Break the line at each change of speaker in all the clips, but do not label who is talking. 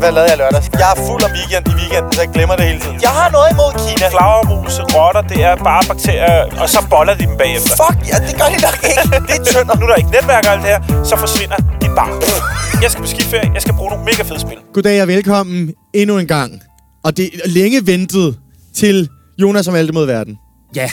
Hvad lavede jeg lørdags? Jeg er fuld om weekend i weekenden, så jeg glemmer det hele tiden. Jeg har noget imod Kina.
Flagermus, rotter, det er bare bakterier, og så boller de dem bagefter.
Fuck, ja, det gør de nok ikke. Det er tønder.
Nu er der ikke netværk og alt det her, så forsvinder dit bar. Jeg skal på skiferie, jeg skal bruge nogle mega fede spil.
Goddag og velkommen endnu en gang. Og det er længe ventet til Jonas og Malte mod verden.
Ja,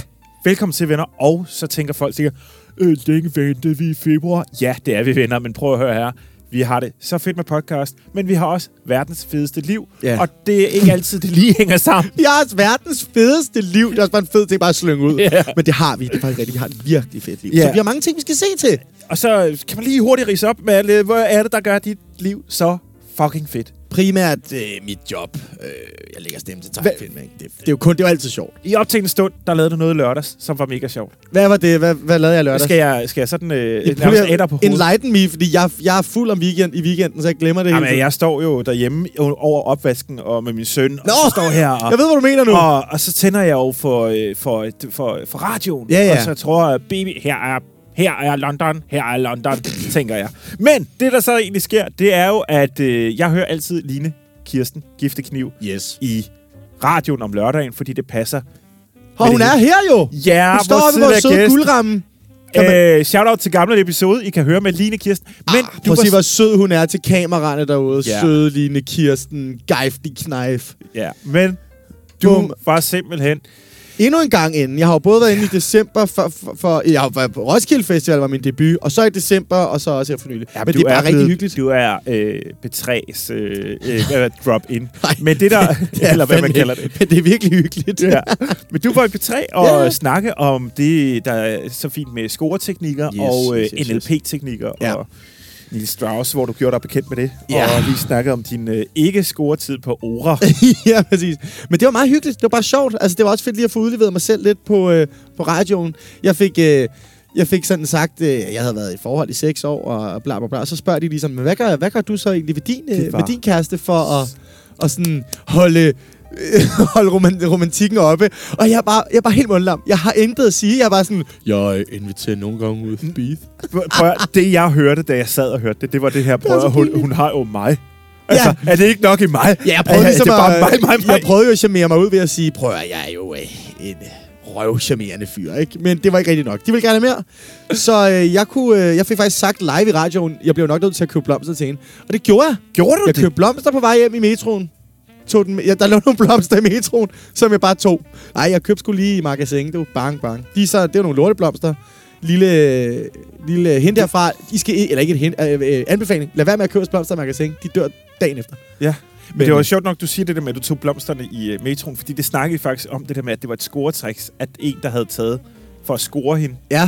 velkommen til venner. Og så tænker folk sikkert, øh, længe ventede vi i februar. Ja, det er vi venner, men prøv at høre her. Vi har det så fedt med podcast, men vi har også verdens fedeste liv.
Ja.
Og det er ikke altid, det lige hænger sammen.
Vi har verdens fedeste liv. Det er også bare en fed ting bare at slynge ud.
Ja.
Men det har vi. Det er faktisk rigtigt. Vi har et virkelig fedt liv.
Ja.
Så vi har mange ting, vi skal se til.
Og så kan man lige hurtigt rise op med alt, øh, hvad er det, der gør dit liv så fucking fedt.
Primært øh, mit job. Øh, jeg lægger stemme til tegnefilm. ikke? Det, det, er jo kun, det er jo altid sjovt.
I optagende stund, der lavede du noget i lørdags, som var mega sjovt.
Hvad var det? Hvad, hvad lavede jeg lørdags?
Skal jeg, skal jeg sådan øh,
Jeg
nærmest
prøver-
æder på hovedet?
Enlighten me, fordi jeg, jeg er fuld om weekend i weekenden, så jeg glemmer det hele
Jamen,
tiden.
jeg står jo derhjemme o- over opvasken og med min søn, Nå, og
Nå,
så står her og...
Jeg ved, hvad du mener nu.
Og, og så tænder jeg jo for, øh, for, for, for radioen,
Ja, ja.
og så tror jeg, baby, her er, her er London, her er London, tænker jeg. Men det, der så egentlig sker, det er jo, at øh, jeg hører altid Line Kirsten Giftekniv
yes.
i radioen om lørdagen, fordi det passer.
Og hun er her jo.
Ja,
Hun står oppe i vores søde guldramme. Kan
Øh, shout-out til gamle episode, I kan høre med Line Kirsten. Men
Men du Ah, Prøv at se, hvor sød hun er til kameraerne derude.
Ja.
Ja. Søde Line Kirsten, Geifte Kneif.
Ja, men du
Du,
var simpelthen...
endnu en gang inden. Jeg har jo både været inde i december, for, for, for jeg har været på Roskilde Festival, var min debut, og så i december, og så også her for nylig. Ja, men
du
det er bare rigtig
blevet-
hyggeligt.
Du er øh, betræs, øh, øh, hvad drop-in.
Nej,
Men det der...
Ja,
eller hvad man
fandme.
kalder det.
Men det er virkelig hyggeligt.
Ja. Men du var i P3 og
Ja.
snakke om det, der er så fint med scoreteknikker
Yes,
og øh,
yes, yes, yes.
NLP-teknikker
Ja.
og Nils Strauss, hvor du gjorde dig bekendt med det.
Ja.
Og vi snakkede om din øh, ikke-scoretid på ORA.
ja, præcis. Men det var meget hyggeligt. Det var bare sjovt. Altså, det var også fedt lige at få udleveret mig selv lidt på, øh, på radioen. Jeg fik, øh, jeg fik sådan sagt, øh, jeg havde været i forhold i seks år, og bla bla bla. Og så spørger de ligesom, "Men hvad gør, hvad gør du så egentlig ved din,
Det
øh,
var-
med din kæreste for at, at sådan holde holde roman- romantikken oppe. Og jeg er, bare, jeg er bare helt mundlam. Jeg har intet at sige. Jeg er bare sådan, jeg inviterer nogle gange ud at spise.
Prøv, at- det jeg hørte, da jeg sad og hørte det, det var det her, prøv,
var så
at- hun,
pinligt.
hun har jo mig. Altså, ja. er det ikke nok i mig?
Ja, jeg prøvede
er,
ligesom
det er bare
at,
mig, mig, mig.
Jeg prøvede jo at charmere mig ud ved at sige, prøv at høre, jeg er jo øh, en øh, røvcharmerende fyr, ikke? Men det var ikke rigtigt nok. De ville gerne have mere. Så øh, jeg, kunne, øh, jeg fik faktisk sagt live i radioen, jeg blev nok nødt til at købe blomster til hende. Og det gjorde jeg.
Gjorde du
Jeg
det?
købte blomster på vej hjem i metroen. Tog den, med- ja, der lå nogle blomster i metroen, som jeg bare tog. Nej, jeg købte sgu lige i magasin, du. Bang, bang. De er så, det er nogle lorteblomster. Lille, lille hint derfra. I skal, i- eller ikke et hint, øh, øh, anbefaling. Lad være med at købe blomster i magasin. De dør dagen efter.
Ja. Men,
Men-
det var sjovt nok, du siger det der med, at du tog blomsterne i øh, metroen, fordi det snakkede vi faktisk om det der med, at det var et scoretricks, at en, der havde taget for at score hende.
Ja.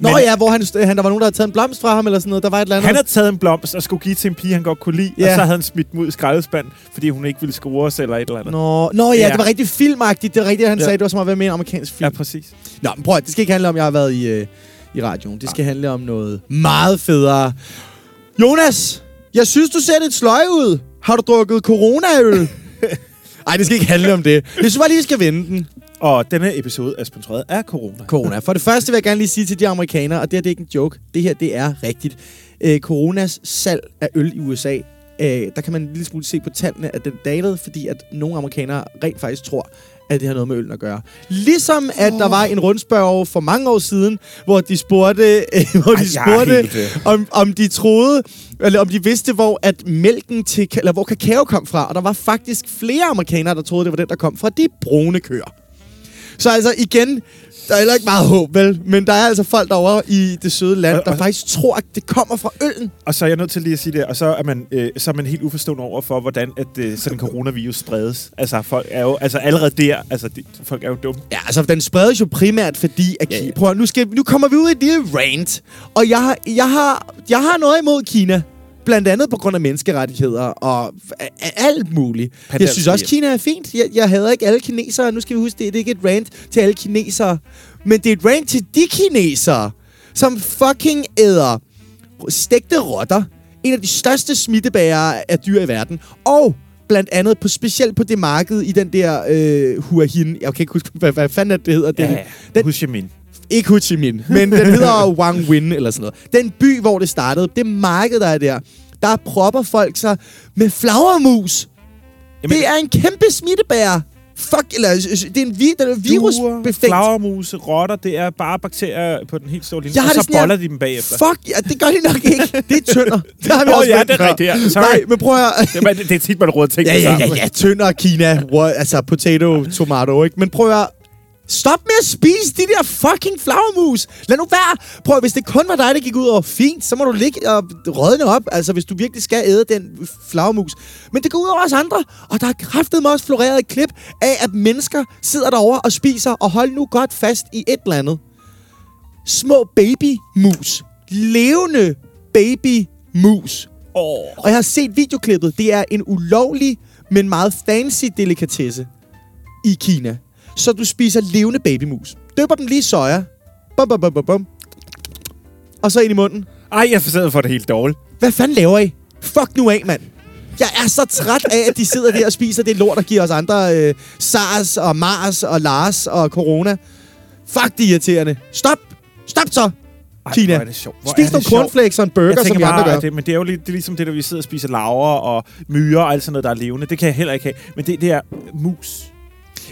Nå
Men-
Men, ja, hvor han, st- han, der var nogen, der havde taget en blomst fra ham, eller sådan noget. Der var et eller andet.
Han havde taget en blomst og skulle give til en pige, han godt kunne lide, ja. og
Ja.
så havde han smidt den ud i skraldespanden, fordi hun ikke ville score os eller et eller andet.
Nå, nå ja,
Ja.
ja, det var rigtig filmagtigt. Det er rigtigt, han
Ja.
ja. sagde. Det var som at være med i en amerikansk film.
Ja,
Ja.
præcis.
Nå, men prøv at- det skal ikke handle om, at jeg har været i, øh, i radioen. Det skal handle om noget meget federe. Jonas, jeg synes, du ser lidt sløj ud. Har du drukket coronaøl? Nej, det skal ikke handle om det. Jeg synes bare lige, vi skal vende den.
Og denne episode er sponsoreret af corona.
corona. For det første vil jeg gerne lige sige til de amerikanere, og det her det er ikke en joke, det her det er rigtigt. Øh, coronas salg af øl i USA, øh, der kan man en lille smule se på tallene, at den dalede, fordi at nogle amerikanere rent faktisk tror, at det har noget med øl at gøre. Ligesom at der var en rundspørg for mange år siden, hvor de spurgte, øh, hvor
Ej,
de
jeg er
spurgte
helt, øh.
om, om de troede, eller om de vidste, hvor at mælken til, eller hvor kakao kom fra. Og der var faktisk flere amerikanere, der troede, det var den, der kom fra de brune køer. Så altså igen, der er heller ikke meget håb, vel? Men der er altså folk derovre i det søde land,
Og- og-
der faktisk tror, at det kommer fra øllen.
Og så er jeg nødt til lige at sige det, og så er man, øh, så er man helt uforstående over for, hvordan at, øh, sådan en coronavirus spredes. Altså, folk er jo altså, allerede der, altså, de, folk er jo dumme.
Ja, altså den spredes jo primært fordi, at
Ja,
ja,
ja.
ja. Prøv, at- nu, skal, nu kommer vi ud i et lille rant. Og jeg, har- jeg, har, jeg har noget imod Kina. Blandt andet på grund af menneskerettigheder og a- a- alt muligt.
Pandals
jeg synes også,
hjem.
Kina er fint. Jeg, jeg hader ikke alle kinesere. Nu skal vi huske, det, det er ikke et rant til alle kinesere. Men det er et rant til de kinesere, som fucking æder stegte rotter, en af de største smittebærere af dyr i verden, og blandt andet på, specielt på det marked i den der øh, Huahin, jeg kan ikke huske, hvad, hvad fanden er det, det hedder, den,
Den,
den,
Ho Chi Minh.
ikke Ho Chi Minh, men den hedder Wang Win eller sådan noget. Den by, hvor det startede, det marked, der er der, der propper folk sig med flagermus.
Jamen-
Jamen, det er en kæmpe smittebærer. Fuck, eller øh, øh, det er en vi, der er virusbefængt.
flagermus, rotter, det er bare bakterier på den helt store linje.
Jeg har
og
det
så
sådan her-
boller de dem bagefter.
Fuck, ja, det gør de nok ikke. Det er tønder. Det har vi
Nå,
også
ja,
vendt
det er
før.
rigtigt, ja. Sorry.
Nej, men prøv at høre.
Det, er, det er tit, man råder ting
Ja, ja, ja, ja. Tønder Kina. What? Altså, potato, tomato, ikke? Men prøv at høre. Stop med at spise de der fucking flagermus. Lad nu være. Prøv at, hvis det kun var dig, der gik ud over fint, så må du ligge og rådne op, altså hvis du virkelig skal æde den flagermus. Men det går ud over os andre, og der er kraftedeme også floreret et klip af, at mennesker sidder derovre og spiser, og hold nu godt fast i et eller andet. Små babymus. Levende babymus.
Åh,
Og jeg har set videoklippet. Det er en ulovlig, men meget fancy delikatesse i Kina. Så du spiser levende babymus. Døber dem lige i soja. Bum, bum, bum, bum, bum. Og så ind i munden.
Ej, jeg forsøger for det helt dårligt.
Hvad fanden laver I? Fuck nu af, mand. Jeg er så træt af, at de sidder der og spiser det lort, der giver os andre øh, SARS og Mars og Lars og Corona. Fuck, de er irriterende. Stop. Stop så,
Ej,
Kina.
hvor er det sjovt. Hvor er
Spis
det
nogle
sjovt.
cornflakes og en burger,
jeg
som vi
tænker
andre
bare,
gør.
at det, men det er jo lige, det er ligesom det, der vi sidder og spiser laver og myrer og alt sådan noget, der er levende. Det kan jeg heller ikke have. Men det, det er mus.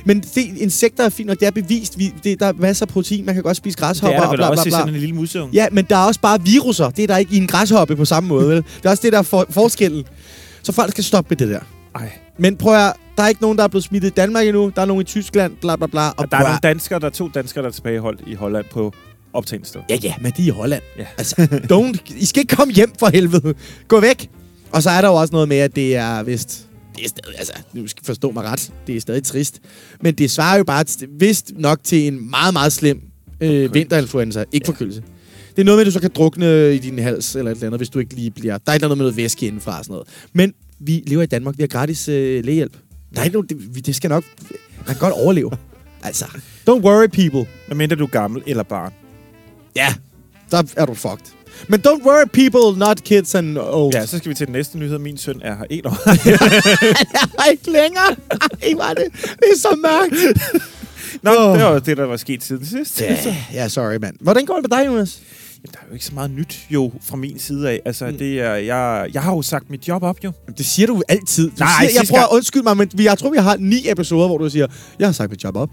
Men det, insekter er fint, og det er bevist. Vi, det, der er masser af protein. Man kan godt spise
Det
græshopper
er der
og
vel
bla, bla,
også i
bla.
sådan en lille museum.
Ja, men der er også bare viruser. Det er der ikke i en græshoppe på samme måde. Vel? Det er også det, der er for, forskellen. Så folk skal stoppe med det der.
Ej,
Men prøv at høre, der er ikke nogen, der er blevet smittet i Danmark endnu. Der er nogen i Tyskland, bla bla bla. Og
der er
prøv
nogle
at-
danskere, der er to danskere, der er tilbageholdt i Holland på optagelsessted.
Ja, ja, men de er i Holland.
Ja.
Altså, don't, I skal ikke komme hjem for helvede. Gå væk. Og så er der jo også noget med, at det er vist... Det er stadig, altså, nu skal I forstå mig ret. Det er stadig trist. Men det svarer jo bare til- vist nok til en meget, meget slem øh, vinterinfluenza. Ikke ja. forkølelse. Det er noget med, at du så kan drukne i din hals eller et eller andet, hvis du ikke lige bliver... Der er ikke noget med noget væske indenfra og sådan noget. Men vi lever i Danmark. Vi har gratis øh, lægehjælp. Der er ikke nogen... Det, vi- det skal nok... Man kan godt overleve. altså, don't worry, people.
Medmindre du er gammel eller barn.
Ja, der er du fucked. Men don't worry, people, not kids and old.
Ja, så skal vi til den næste nyhed. Min søn er her en år.
Nej, ikke længere. Ej, var det, det er så mørkt.
Nå,
Åh.
det var jo det, der var sket siden sidst.
Ja, ja, sorry, mand. Hvordan går det med dig, Jonas?
Jamen, der er jo ikke så meget nyt jo fra min side af. Altså,
Mm.
det er, jeg, jeg har jo sagt mit job op jo.
Det siger du altid. Du
Nej,
siger, jeg
sidste
prøver at
gang-
undskylde mig, men vi- jeg tror, vi har ni episoder, hvor du siger, jeg har sagt mit job op.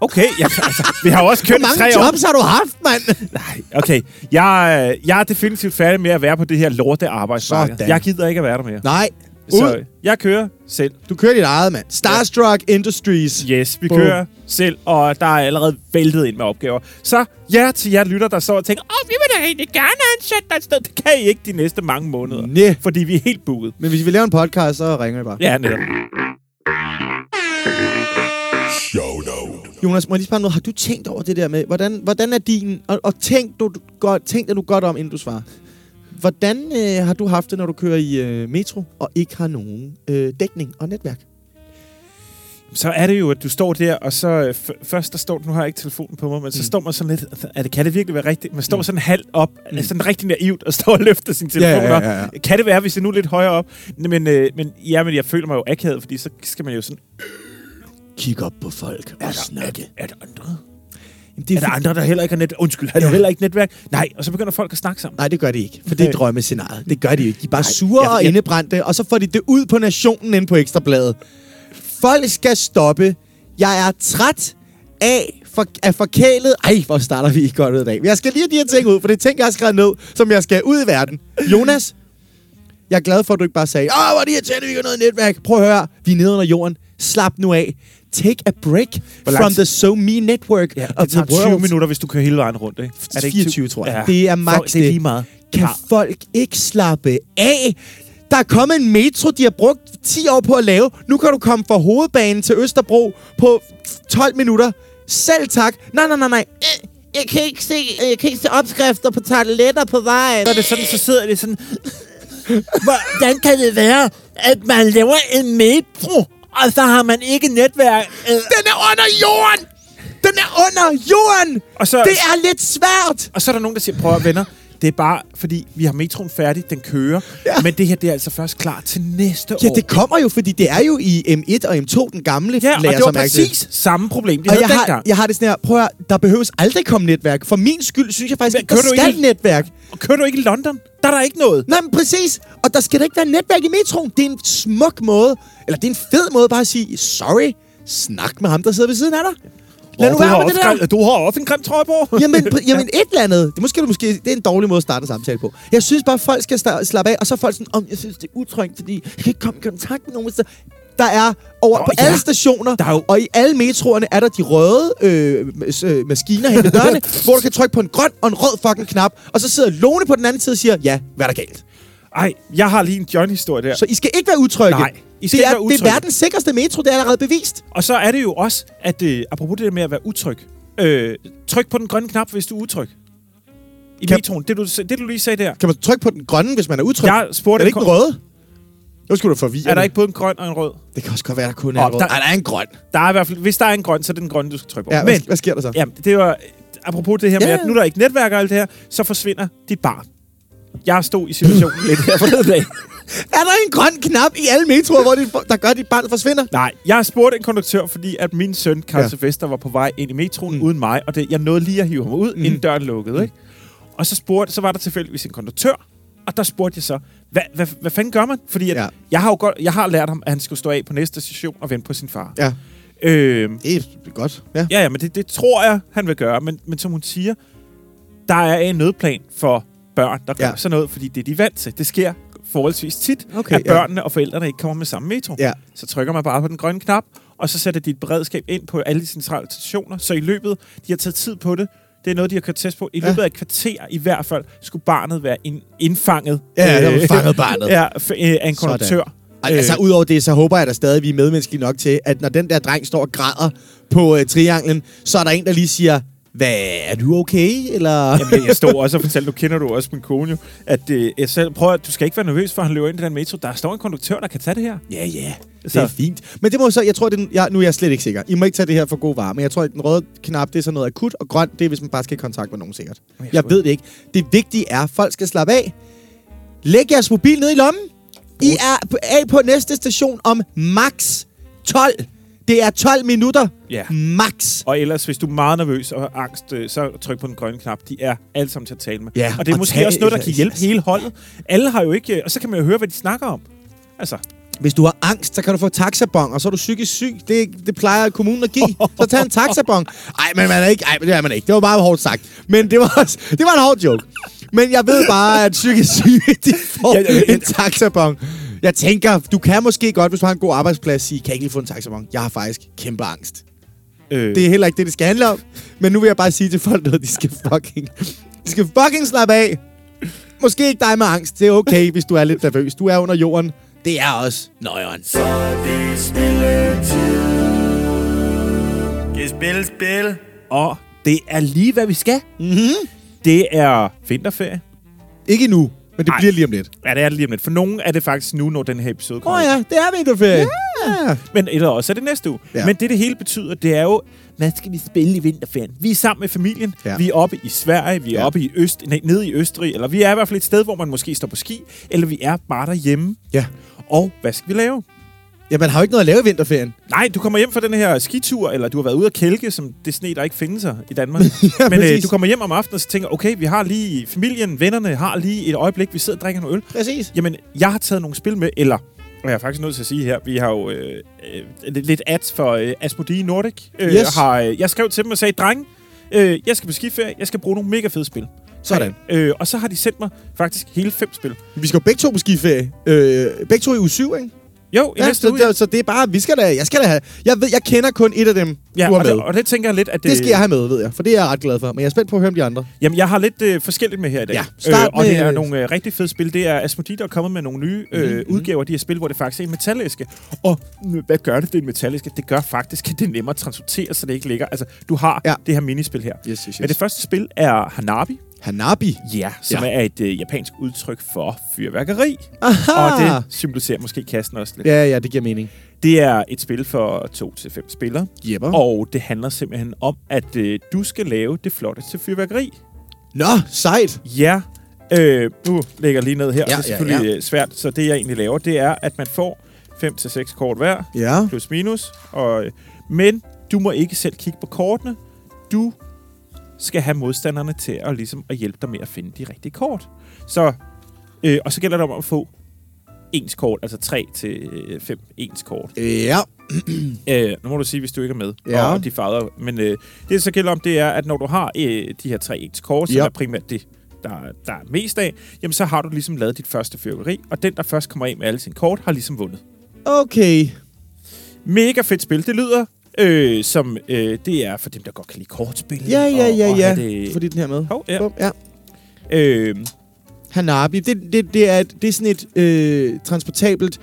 Okay, jeg, altså, vi har jo også kørt
Hvor
i
mange
tre år.
jobs har du haft, mand?
Nej, okay. Jeg, øh, jeg er definitivt færdig med at være på det her lorte arbejdsmarked.
Sådan.
Jeg gider ikke at være der mere.
Nej,
Så
ud.
jeg kører selv.
Du kører dit eget, mand. Starstruck Industries.
Yes, vi
Boom.
kører selv, og der er allerede væltet ind med opgaver. Så ja til jer lytter, der står og tænker, åh, vi vil da egentlig gerne ansætte dig et sted. Det kan I ikke de næste mange måneder.
Næ.
Fordi vi er helt booket.
Men hvis vi laver en podcast, så ringer vi bare.
Ja, netop.
Jonas, må jeg lige spørge noget? Har du tænkt over det der med, hvordan, hvordan er din... Og, og tænk, du, du godt, tænk dig du godt om, inden du svarer. Hvordan øh, har du haft det, når du kører i øh, metro og ikke har nogen øh, dækning og netværk?
så er det jo, at du står der, og så øh, f- først der står, nu har jeg ikke telefonen på mig,
Mm.
men så står man sådan lidt, er det, kan det virkelig være rigtigt? Man står sådan halvt op, mm. sådan rigtig naivt, og står og løfter sin telefon
ja,
op.
ja, ja.
Kan det være, hvis jeg nu er lidt højere op? Nå, Men, øh, men, ja, men jeg føler mig jo akavet, fordi så skal man jo sådan,
Kig op på folk og snakke.
er der andre?
Jamen, det
Er der andre, der heller ikke har netværk? Undskyld, har du heller ikke netværk? Nej, og så begynder folk at snakke sammen.
Nej, det gør de ikke, for det er
Nej.
drømmescenariet. Det gør de ikke. De er bare sure
jeg-
og
jeg-
indebrændte, og så får de det ud på nationen inde på Ekstrabladet. Folk skal stoppe. Jeg er træt af, for, af forkælet... Ej, hvor starter vi godt ud i dag. Men Jeg skal lige have de her ting ud, for det er ting, jeg har skrevet ned, som jeg skal ud i verden. Jonas, jeg er glad for, at du ikke bare sagde, åh, hvor er det irriterende, vi ikke har noget netværk. Prøv at høre, vi er nede under jorden. Slap nu af. Take a break
lang
from
tid-
the so me network ja, of
det
the
tager
world.
20 minutter, hvis du kører hele vejen rundt, ikke?
Er det ikke 24, tror jeg. Det er max
Folk, det. er
det.
lige meget.
Kan
Ja.
folk ikke slappe af? Der er kommet en metro, de har brugt 10 år på at lave. Nu kan du komme fra hovedbanen til Østerbro på 12 minutter. Selv tak. Nej, nej, nej, nej. Øh, Jeg kan ikke se, øh, jeg kan ikke se opskrifter på tarteletter på vejen.
Så er det sådan, så sidder det sådan,
Hvordan kan det være, at man laver en metro, og så har man ikke netværk? Øh,
Den er under jorden! Den er under jorden!
Og så-
det er lidt svært!
Og så er der nogen, der siger, prøv at venner, det Det er bare, fordi vi har metroen færdig, den kører.
Ja.
Ja. Men det her, det er altså først klar til næste
Ja,
år.
det kommer jo, fordi det er jo i M1 og M2, den gamle
ja,
lærer,
og det var
som er til.
præcis samme problem, de
Og
havde
jeg har,
dengang.
jeg har det sådan her, prøv at, høre, der behøves aldrig komme netværk. For min skyld synes jeg faktisk
Men
ikke, der
kører du
skal
ikke-
netværk.
Og Kører du ikke i London? Der er der ikke noget.
Nej, men præcis. Og der skal da ikke være netværk i metroen. Det er en smuk måde, eller det er en fed måde bare at sige, sorry, snak med ham, der sidder ved siden af dig. Lad
Åh,
nu
du, har
være med
også
det der.
grim- du har også en grim trøje på.
Jamen, pr- jamen et eller andet. Det, måske, måske, det er en dårlig måde at starte en samtale på. Jeg synes bare, at folk skal sta- slappe af, og så er folk sådan, om jeg synes, det er utrygt, fordi jeg kan ikke komme i kontakt med nogen. Så der er over
Nå,
på
ja.
alle stationer,
Der er jo-
og i alle metroerne er der de røde øh, mas- øh, maskiner hen ved dørene, hvor du kan trykke på en grøn og en rød fucking knap, og så sidder Lone på den anden side og siger, ja, hvad er der galt?
Ej, jeg har lige en John-historie der.
Så I skal ikke være utrygge.
Nej, I skal ikke
det, er,
være
det
utrygge.
er verdens sikreste metro, det er allerede bevist.
Og så er det jo også, at øh, apropos det der med at være utryg. Øh, tryk på den grønne knap, hvis du er utryg. I
Kan-
metroen. Det du, det du lige sagde der.
Kan man trykke på den grønne, hvis man er utryg?
Jeg spurgte
er det ikke
en
den røde? Nu skulle du forvirre
Er der ikke både en grøn og en rød?
Det kan også godt være, der kun er
Åh,
en rød.
der-
Ej, der er en grøn.
Der er i hvert fald, hvis der er en grøn, så er det den grønne, du skal trykke på.
Ja, hvad,
Men,
hvad sker der så?
ja, det var apropos det her
Ja,
med,
ja.
at nu er der ikke netværk og alt det her, så forsvinder dit barn. Jeg stod i situationen lidt her forleden dag.
Er der en grøn knap i alle metroer, hvor de, der gør, at dit barn forsvinder?
Nej, jeg spurgte en konduktør, fordi at min søn, Karl
Ja.
ja. Sylvester, var på vej ind i metroen mm. uden mig, og det, jeg nåede lige at hive ham ud, mm. inden døren lukkede. Ikke? Og så, spurgte, så var der tilfældigvis en konduktør, og der spurgte jeg så, hvad, hvad, hvad fanden gør man? Fordi at
Ja.
ja. jeg, har jo godt, jeg har lært ham, at han skulle stå af på næste station og vente på sin far.
Ja,
Ja, øh,
det er godt. Ja.
ja, ja men det, det tror jeg, han vil gøre. Men, men som hun siger, der er en nødplan for børn, der gør
Ja.
ja. sådan noget, fordi det er de vant til. Det sker forholdsvis tit,
Okay,
okay, at
ja.
børnene og forældrene ikke kommer med samme metro.
Ja.
Så trykker man bare på den grønne knap, og så sætter dit beredskab ind på alle de centrale stationer. Så i løbet, de har taget tid på det, det er noget, de har kørt test på. I
Ja.
løbet af et kvarter, i hvert fald, skulle barnet være ind, indfanget
Ja,
øh,
der var fanget barnet.
ja, f- øh, af en
Sådan.
konduktør.
Ej, altså,
Øh.
udover det, så håber jeg da stadig, at vi er medmenneskelige nok til, at når den der dreng står og græder på øh, trianglen, så er der en, der lige siger, hvad, er du okay? Eller...
Jamen, jeg stod også og fortalte, nu kender du også min kone jo, at øh, jeg selv, prøv at, du skal ikke være nervøs for, at han løber ind i den metro. Der står en konduktør, der kan tage det her.
Ja, ja. Det
Så-
er fint. Men det må så, jeg tror, det er, den- jeg, nu er jeg slet ikke sikker. I må ikke tage det her for god varme. Jeg tror, at den røde knap, det er sådan noget akut, og grøn, det er, hvis man bare skal i kontakt med nogen sikkert. Jeg,
jeg
jeg
tror-
ved det ikke. Det vigtige er, at folk skal slappe af. Læg jeres mobil ned i lommen. I er på- af på næste station om max 12. Det er 12 minutter.
Ja.
Max.
Og ellers, hvis du er meget nervøs og har angst, øh, så tryk på den grønne knap. De er alle sammen til at tale med.
Ja,
og det er
og
måske
tal-
også noget, der kan hjælpe
altså-
hele holdet. Alle har jo ikke... øh, Og så kan man jo høre, hvad de snakker om. Altså,
Hvis du har angst, så kan du få taxabong, og så er du psykisk syg. Det, det plejer kommunen at give. Så tag en taxabong. Ej, men man er ikke. Ej, men det er man ikke. Det var bare hårdt sagt. Men det var, også- det var en hård joke. Men jeg ved bare, at psykisk syge, de får
Ja, ja, ja.
en taxabong. Jeg tænker, du kan måske godt, hvis du har en god arbejdsplads, sige, kan jeg ikke lige få en taxabong? Jeg har faktisk kæmpe angst.
øh,
Det er heller ikke det, det skal handle om. Men nu vil jeg bare sige til folk noget, de skal fucking... De skal fucking slappe af. Måske ikke dig med angst. Det er okay, hvis du er lidt nervøs. Du er under jorden. Det er også nøjeren.
Skal spille spil?
og det er lige, hvad vi skal. Mm-hmm.
Mhm.
Det er vinterferie.
Ikke endnu, men det Ej.
Ej.
bliver lige om lidt.
Ja, det er det lige om lidt. For nogen er det faktisk nu, når den her episode
Åh
kommer.
oh, ja, det er vinterferie. Ja.
Men eller også er det næste uge.
Ja.
Ja. Men det, det hele betyder, det er jo, hvad skal vi spille i vinterferien? Vi er sammen med familien.
Ja.
Ja. Vi er oppe i Sverige, vi er
Ja.
ja. oppe i Øst, nej, nede i Østrig, eller vi er i hvert fald et sted, hvor man måske står på ski, eller vi er bare derhjemme.
ja.
Og hvad skal vi lave?
Ja, man har jo ikke noget at lave i vinterferien.
Nej, du kommer hjem fra den her skitur, eller du har været ude at kælke, som det sne, der ikke findes her i Danmark.
Ja,
Men
præcis.
øh, du kommer hjem om aftenen og så tænker, okay, vi har lige familien, vennerne har lige et øjeblik, vi sidder og drikker noget øl.
Præcis.
Jamen, jeg har taget nogle spil med, eller og jeg er faktisk nødt til at sige her, vi har jo øh, øh, lidt lidt ads for øh, Asmodee Nordic. Øh,
Yes.
har, øh, jeg skrev til dem og sagde, dreng, øh, jeg skal på skiferie, jeg skal bruge nogle mega fede spil.
Sådan.
Øh, og så har de sendt mig faktisk hele fem spil.
Vi skal jo begge to på skiferie. Øh, begge to i uge 7, ikke?
Jo, i ja, næste
så,
uge.
der, så det er bare, vi skal da, jeg skal da have, jeg ved, jeg kender kun et af dem, ja, du har
og,
med.
det, og det tænker jeg lidt, at det...
det skal jeg have med, ved jeg, for det er jeg ret glad for. Men jeg er spændt på at høre om de andre.
Jamen, jeg har lidt øh, forskelligt med her i dag.
Ja, start
og det
med- Mhm,
er nogle øh, rigtig fede spil. Det er Asmodee, der er kommet med nogle nye øh, mm-hmm. udgaver af de her spil, hvor det faktisk er en metalæske. Og øh, hvad gør det, det er en metalæske? Det gør faktisk, at det er nemmere at transportere, så det ikke ligger. Altså, du har
Ja.
ja. det her minispil her.
Yes, yes, yes.
Men det første spil er Hanabi,
Hanabi.
ja, som
Ja.
ja. er et øh, japansk udtryk for fyrværkeri.
Aha.
Og det symboliserer måske kassen også lidt. Ja.
Ja, ja, det giver mening.
Det er et spil for to til fem spillere.
Jepper.
Og det handler simpelthen om, at øh, du skal lave det flotteste fyrværkeri.
Nå, sejt.
Ja, Øh, nu lægger jeg lige ned her, ja, det er selvfølgelig
ja,
ja, ja. svært, så det jeg egentlig laver, det er, at man får 5-6 kort hver,
Ja.
plus minus, og, øh, men du må ikke selv kigge på kortene. Du skal have modstanderne til at, ligesom, at hjælpe dig med at finde de rigtige kort. Så, øh, og så gælder det om at få ens kort, altså 3 til 5 ens kort.
Ja.
Øh, nu må du sige, hvis du ikke er med.
Ja.
Og de farver. Men øh, det, det så gælder om, det er, at når du har øh, de her tre ens kort, som
Ja.
er primært det, der, der er mest af, jamen så har du ligesom lavet dit første fyrværkeri, og den, der først kommer af med alle sine kort, har ligesom vundet.
Okay.
Mega fedt spil. Det lyder øh, som... Øh, det er for dem, der godt kan lide kortspil.
Ja, ja,
og-
ja,
og
ja.
have Det...
Fordi den her med.
Hov, ja.
Bum, ja.
Øh,
Hanabi. Det, det, det, er, et- det er sådan et øh, transportabelt,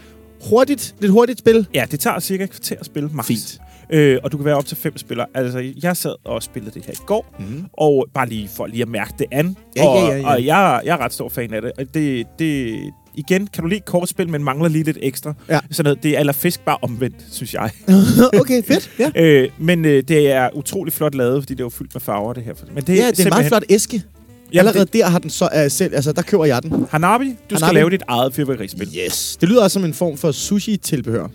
hurtigt, lidt hurtigt spil.
ja, det tager cirka et kvarter at spille, max.
Fint.
Øh, og du kan være op til fem spillere. Altså, jeg sad og spillede det her i går,
Mm.
og bare lige for lige at mærke det an.
Ja,
og,
ja, ja, ja.
og jeg, jeg er ret stor fan af det. Og det, det igen, kan du lide kortspil, men mangler lige lidt ekstra.
Ja.
Sådan noget. Det er aller fisk bare omvendt, synes jeg.
okay, fedt. Ja.
øh, men øh, det er utrolig flot lavet, fordi det er jo fyldt med farver, det her. Men det
ja, det er en meget
simpelthen-
flot æske.
Jamen,
Allerede
det-
det... der har den så uh, selv, altså der køber jeg den.
Hanabi, du Hanabi. skal
Hanabi.
lave dit eget fyrværkerispil.
Yes. Det lyder også som en form for sushi-tilbehør.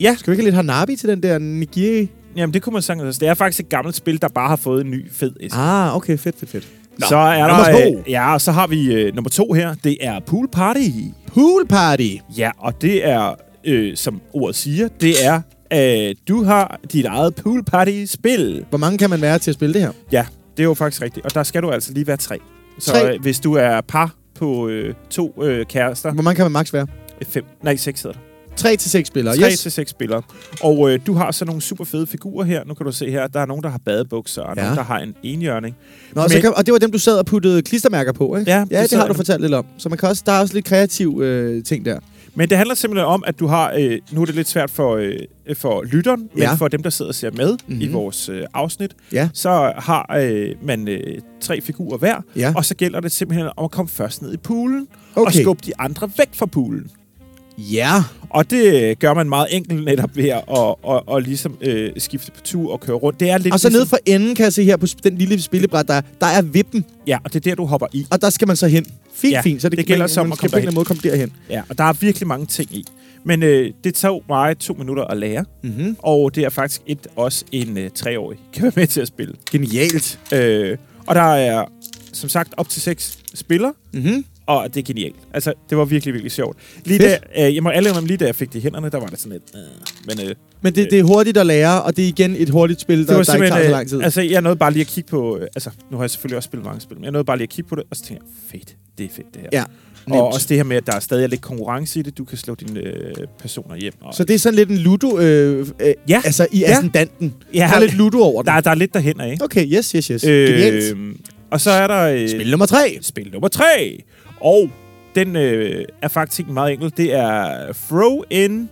Ja.
Skal vi ikke have lidt Hanabi til den der nigiri?
Jamen, det kunne man sagtens. altså. Det er faktisk et gammelt spil, der bare har fået en ny fed æske.
Ah, okay, fedt, fedt, fedt.
Nå, så er
nummer
der,
to.
øh, ja, og så har vi øh, nummer to her. Det er Pool Party.
Pool party.
Ja, og det er, øh, som ordet siger, det er, at du har dit eget pool party-spil.
Hvor mange kan man være til at spille det her?
Ja, det er jo faktisk rigtigt. Og der skal du altså lige være tre. Så
Tre?
Øh, hvis du er par på øh, to øh, kærester,
Hvor mange kan man maks være?
øh, fem, nej, seks hedder det.
3 til 6 spillere.
Tre
yes.
til seks spillere. Og øh, du har så nogle super fede figurer her. Nu kan du se her, der er nogen, der har badebukser, og
Ja.
ja. nogen, der har en enhjørning.
Nå, så
Men-
kan, og det var dem, du sad og puttede klistermærker på, ikke?
Ja, det
ja det, det
sad
har du
jeg.
fortalt lidt om. Så man kan også, der er også lidt kreativ øh, ting der.
Men det handler simpelthen om, at du har... Øh, nu er det lidt svært for, øh, for lytteren, men
Ja.
for dem, der sidder og ser med mm-hmm. i
Mhm.
vores øh, afsnit,
Ja.
så har øh, man øh, tre figurer hver,
Ja.
og så gælder det simpelthen om at komme først ned i poolen, og
Okay.
skubbe de andre væk fra poolen.
Ja.
Og det øh, gør man meget enkelt netop ved at og, og, og ligesom øh, skifte på tur og køre rundt. Det er lidt
Og så
ligesom,
nede for enden kan jeg se her på sp- den lille spillebræt, der, er- der er vippen,
Ja, og det er der, du hopper i.
og der skal man så hen. Fint,
Ja,
fint. Så det,
det gælder
man,
så om
man
at
skal
komme
på en eller anden måde komme derhen.
Ja, og der er virkelig mange ting i. Men øh, det tog mig to minutter at lære,
Mm-hmm.
og det er faktisk et, også en øh, treårig kan være med til at spille.
Genialt.
Øh, og der er, som sagt, op til seks spillere,
Mm-hmm.
og det er genialt. Altså, det var virkelig, virkelig sjovt. Lige da,
Fedt.
øh, jeg må alle om lige da jeg fik det i hænderne, der var det sådan lidt... Øh, men øh,
Men det, det er hurtigt at lære, og det er igen et hurtigt spil,
det
der,
var
der ikke tager så
simpelthen...
lang tid.
Øh, altså, jeg nåede bare lige at kigge på... Øh, altså, nu har jeg selvfølgelig også spillet mange spil, men jeg nåede bare lige at kigge på det, og så tænkte jeg, fedt, det er fedt det her.
Ja, nemt.
og også det her med, at der er stadig lidt konkurrence i det. Du kan slå dine øh, personer hjem. Og,
Så det er sådan lidt en ludo, øh, øh,
Ja.
altså i
Ja.
ascendanten.
Ja,
Der er lidt ludo over den.
der, der er lidt derhen af, ikke?
Okay, yes, yes, yes. Øh, Genialt.
Øh, og så er der... Øh,
Spil nummer tre.
spil nummer 3. Og den øh, er faktisk meget enkel. Det er throw in...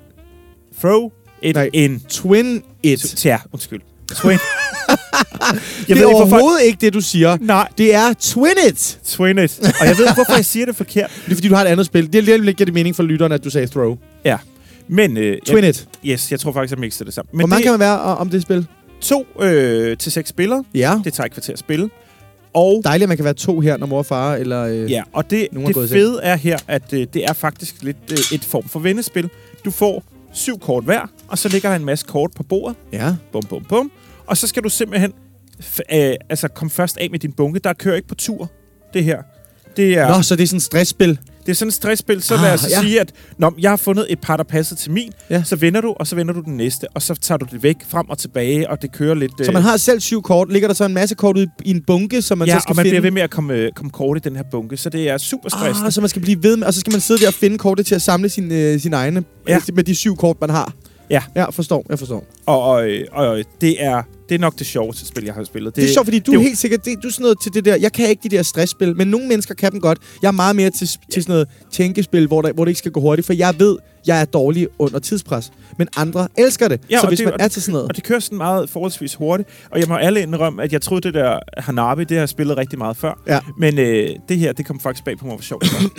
Throw it
Nej.
in...
Twin It.
Ja, undskyld. Twin.
Jeg
jeg ved
det er
ikke, hvorfor...
overhovedet ikke det, du siger.
Nej,
Det er Twin It.
twin it. Og jeg ved ikke, hvorfor jeg siger det forkert.
Det er, fordi du har et andet spil. Det er lige lidt giver det mening for lytterne, at du sagde throw.
Ja. Men øh,
Twin
jeg,
It.
yes, jeg tror faktisk, jeg mixede det sammen. Men
Hvor mange
det
kan man være o- om det spil?
er to øh, til seks spillere.
Ja.
Det tager et kvarter at spille. Og
Dejligt, at man kan være to her, når mor og far eller... Øh,
Ja, og det,
Nogen er gået i
det
seng.
fede er her, at øh, det er faktisk lidt øh, et form for vendespil. Du får syv kort hver, og så ligger der en masse kort på bordet.
ja.
Bum, bum, bum. Og så skal du simpelthen f- øh, altså komme først af med din bunke. Der kører ikke på tur, det her. Det er,
Nå, så det er sådan et stressspil.
det er sådan et stressspil, så
Ah,
ah, lad os
ja.
ja. sige, at Nå, men jeg har fundet et par, der passer til min.
Ja.
Ja. Så vender du, og så vender du den næste, og så tager du det væk frem og tilbage, og det kører lidt... øh,
Så man har selv syv kort. Ligger der så en masse kort ud i en bunke, som man
ja,
så skal
og man
finde?
bliver ved med at komme, øh, komme kort i den her bunke, så det er super stressende.
Ah, så man skal blive ved med, og så skal man sidde der og finde kortet til at samle sin, øh, sin egne, ja.
Ja.
med de syv kort, man har.
Ja.
Ja, forstår, jeg forstår. Det,
Og, og, øh, og øh, det er det er nok det sjoveste spil, jeg har spillet.
det er sjovt, fordi du
Øh, det er
det, er
jo-
helt sikkert, det, du er sådan noget til det der, jeg kan ikke de der stressspil, men nogle mennesker kan dem godt. Jeg er meget mere til, til sådan noget tænkespil, hvor, der, hvor det ikke skal gå hurtigt, for jeg ved, jeg er dårlig under tidspres. Men andre elsker det,
Ja,
så
og
hvis
det-
man
og
er til sådan noget.
Og det kører sådan meget forholdsvis hurtigt. Og jeg må alle indrømme, at jeg troede, det der Hanabi, det har jeg spillet rigtig meget før.
Ja.
Men øh, det her, det kom faktisk bag på mig, hvor sjovt det var.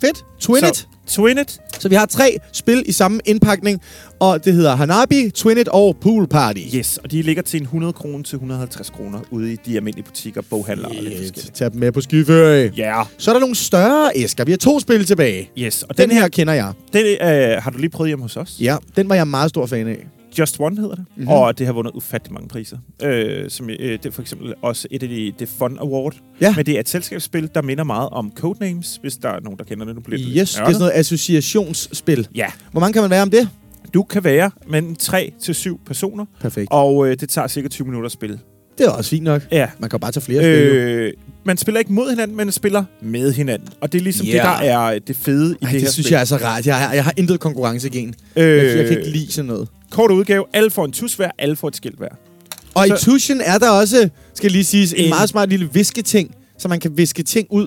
Fedt, twin it.
Så, Twin it.
Så vi har tre spil i samme indpakning, og det hedder Hanabi, Twin it Roulette og Pool Party.
Yes, og de ligger til en 100 kroner til 150 kroner ude i de almindelige butikker, boghandlere og lidt
Yes.
forskelligt.
Tag dem med på skiferie.
Ja, yeah.
Så er der nogle større æsker. Vi har to spil tilbage.
yes. Og
Den her kender jeg.
den, øh, har du lige prøvet hjemme hos os?
Ja, den var jeg meget stor fan af.
Just One hedder det,
Mhm.
mm-hmm. og det har vundet ufattelig mange priser. Øh, som øh, det er for eksempel også et af de det Fun Award.
Ja.
Men det er et selskabsspil, der minder meget om Codenames, hvis der er nogen, der kender det. Nu bliver det lidt
Yes, det er
nørdet.
sådan noget associationsspil.
Ja,
Hvor mange kan man være om det?
du kan være mellem 3 til 7 personer,
Perfekt.
og øh, det tager cirka 20 minutter at spille.
Det er også fint nok.
Ja.
Man kan jo bare tage flere øh, spil. jo.
Øh, man spiller ikke mod hinanden, man spiller med hinanden. Og det er ligesom
Ja.
yeah. det, der er det fede i
Ej,
det,
det,
her
det synes
spil.
jeg er så rart. Jeg har, jeg har intet konkurrencegen. Øh,
Øh,
jeg, jeg kan ikke lide sådan noget.
Kort udgave, alle får en tus hver, alle får et skilt hver.
Og
så-
i Tushen er der også, skal lige siges, en, en
En-
meget smart lille visketing, så man kan viske ting ud.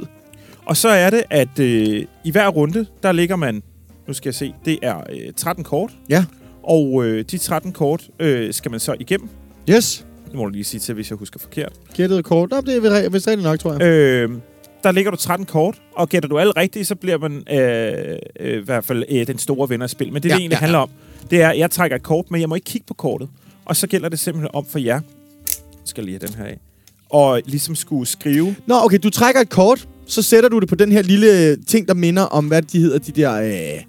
Og så er det, at øh, i hver runde, der ligger man, nu skal jeg se, det er øh, 13 kort.
Ja.
Og øh, de 13 kort øh, skal man så igennem.
Yes.
Det må du lige sige til, hvis jeg husker forkert.
Gættet kort. Nå, det er vel- vist rigtigt nok, tror jeg.
Øh, der ligger du 13 kort, og gætter du alle rigtige, så bliver man øh, øh, i hvert fald øh, den store vinder af spil. Men det, ja,
Ja,
det egentlig
ja,
ja, handler om, det er, at jeg trækker et kort, men jeg må ikke kigge på kortet. Og så gælder det simpelthen om for jer. Jeg skal lige have den her af. Og ligesom skulle skrive...
Nå, okay, du trækker et kort, så sætter du det på den her lille øh, ting, der minder om, hvad de hedder, de der... Øh,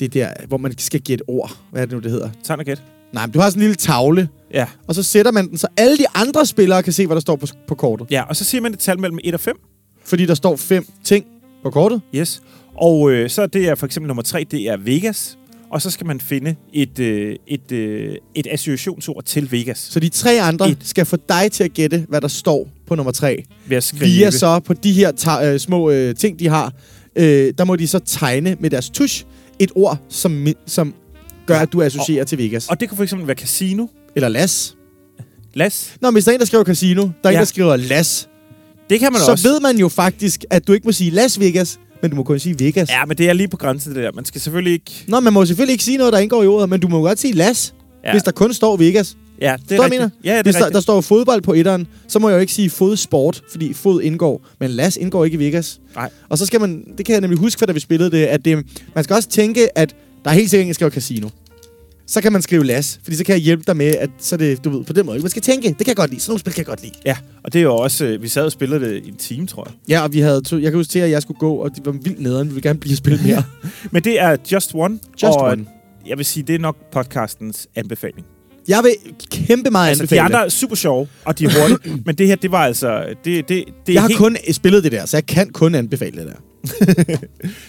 det der, hvor man skal gætte ord. Hvad er det nu, det hedder?
Tegn og gæt.
Nej, men du har sådan en lille tavle,
Ja,
og så sætter man den, så alle de andre spillere kan se, hvad der står på, på kortet.
ja, og så siger man et tal mellem 1 og 5.
Fordi der står fem ting på kortet.
Yes. Og øh, så det er for eksempel nummer tre, det er Vegas. Og så skal man finde et, øh, et, øh, et associationsord til Vegas.
Så de tre andre
Et.
skal få dig til at gætte, hvad der står på nummer tre.
Ved at skrive.
Via så på de her ta- øh, små øh, ting, de har, øh, der må de så tegne med deres tusch et ord, som, mi- som gør, at du associerer til Vegas.
Og det kan for eksempel være casino.
Eller las.
Las.
Nå, men hvis der er en, der skriver casino, der er ja. en,
Ja.
der skriver las,
Det kan man
så
også.
ved man jo faktisk, at du ikke må sige Las Vegas, men du må kun sige Vegas.
Ja, men det er lige på grænsen, det der. Man skal selvfølgelig ikke...
Nå, man må selvfølgelig ikke sige noget, der indgår i ordet, men du må godt sige Las, ja.
Ja.
hvis der kun står Vegas.
Ja, det
Det er
er
jeg mener?
Ja, ja, det
Hvis
er
der, der
rigtigt.
står fodbold på etteren, så må jeg jo ikke sige fodsport, fordi fod indgår. Men Las indgår ikke i Vegas.
Nej.
Og så skal man, det kan jeg nemlig huske, for da vi spillede det, at det, man skal også tænke, at der er helt sikkert, at jeg skriver casino. Så kan man skrive Las, fordi så kan jeg hjælpe dig med, at så er det, du ved, på den måde. Man skal tænke, det kan jeg godt lide. Sådan nogle spil kan jeg godt lide.
Ja, og det er jo også... Øh, vi sad og spillede det i en time, tror jeg.
Ja, og vi havde to, jeg kan huske til, at jeg skulle gå, og det var vildt nederen. Vi ville gerne blive at spille mere.
Men det er Just One.
Just
og
one.
Jeg vil sige, det er nok podcastens anbefaling.
Jeg vil kæmpe meget altså,
Altså, de
anbefale
andre
andre,
er super sjove, og de er hurtige. men det her, det var altså... Det, det, det er
Jeg har
helt
kun spillet det der, så jeg kan kun anbefale det der.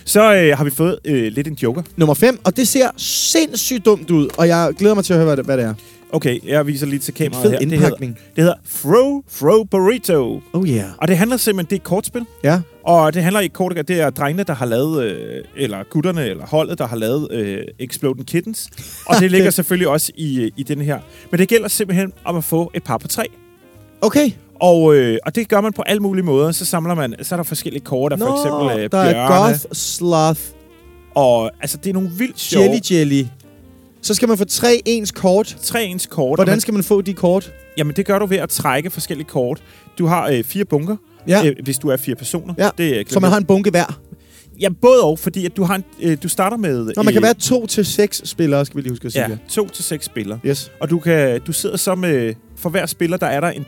Så øh, har vi fået øh, lidt en joker.
Nummer 5, og det ser sindssygt dumt ud, og jeg glæder mig til at høre, hvad det, hvad det er.
Okay, jeg viser lige til
En
kameraet
fed
her. Det hedder,
indpakning.
det hedder Fro Fro Burrito.
Oh yeah.
Og det handler simpelthen, det er et kortspil.
Ja.
Og det handler i kort og godt- det er drengene, der har lavet, øh, eller gutterne, eller holdet, der har lavet øh, Exploding Kittens. Og det ligger selvfølgelig også i, øh, i den her. Men det gælder simpelthen om at få et par på tre.
Okay.
Og, øh, og det gør man på alle mulige måder. Så samler man, så er der forskellige kort, der for eksempel øh,
der er
bjørne.
goth, sloth,
Og altså, det er nogle vildt sjove
jelly jelly. Så skal man få tre ens kort.
tre ens kort. og
Hvordan
man-
skal man få de kort?
Jamen, det gør du ved at trække forskellige kort. Du har øh, fire bunker,
Ja.
øh, hvis du er fire personer.
Ja,
Det, øh,
Så man har en bunke hver.
Ja, både og, fordi at du, har en, øh, du starter med...
Nå, man kan være to til seks spillere, skal vi lige huske at sige.
ja,
det.
to til seks spillere.
Yes.
Og du, kan, du sidder så med... For hver spiller, der er der en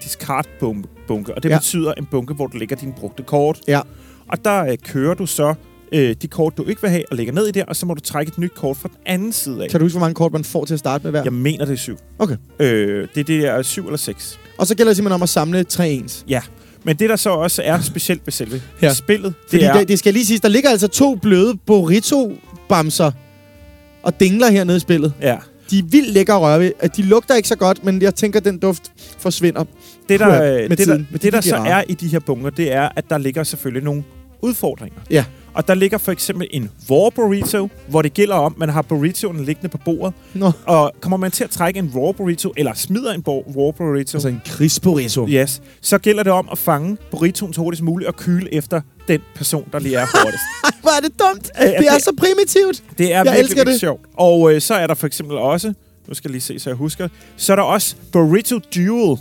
discard-bunke, og det
Ja.
ja. betyder en bunke, hvor du lægger dine brugte kort.
Ja.
Og der øh, kører du så øh, de kort, du ikke vil have, og lægger ned i der, og så må du trække et nyt kort fra den anden side af.
Kan du huske, hvor mange kort man får til at starte med hver?
Jeg mener, det er syv.
Okay.
Øh, det er det der syv eller seks.
Og så gælder det simpelthen om at samle tre ens.
Ja, men det der så også er specielt ved selve
Ja.
ja. spillet, det
Fordi
er...
det, det skal lige siges, der ligger altså to bløde burrito-bamser og dingler hernede i spillet.
Ja.
De er vildt lækre at røre ved. At De lugter ikke så godt, men jeg tænker, at den duft forsvinder.
Det, der,
Puha,
øh,
med
det,
tiden.
der,
Men
det,
de
der
bliver
så
rare.
er i de her bunker, det er, at der ligger selvfølgelig nogle udfordringer.
Ja.
Og der ligger for eksempel en raw burrito, hvor det gælder om, man har burritoen liggende på bordet,
Nå.
og kommer man til at trække en raw burrito, eller smider en bor- raw burrito,
Altså en krigsburrito.
yes, så gælder det om at fange burritoen så hurtigst muligt og kyle efter den person, der lige er hurtigst.
Ej, hvor er det dumt.
ja,
Det er
det-
så primitivt.
Det er jeg
Jeg
virkelig,
elsker
elsker
det.
det. sjovt. Og øh, så er der for eksempel også, nu skal jeg lige se, så jeg husker, så er der også Burrito Duel.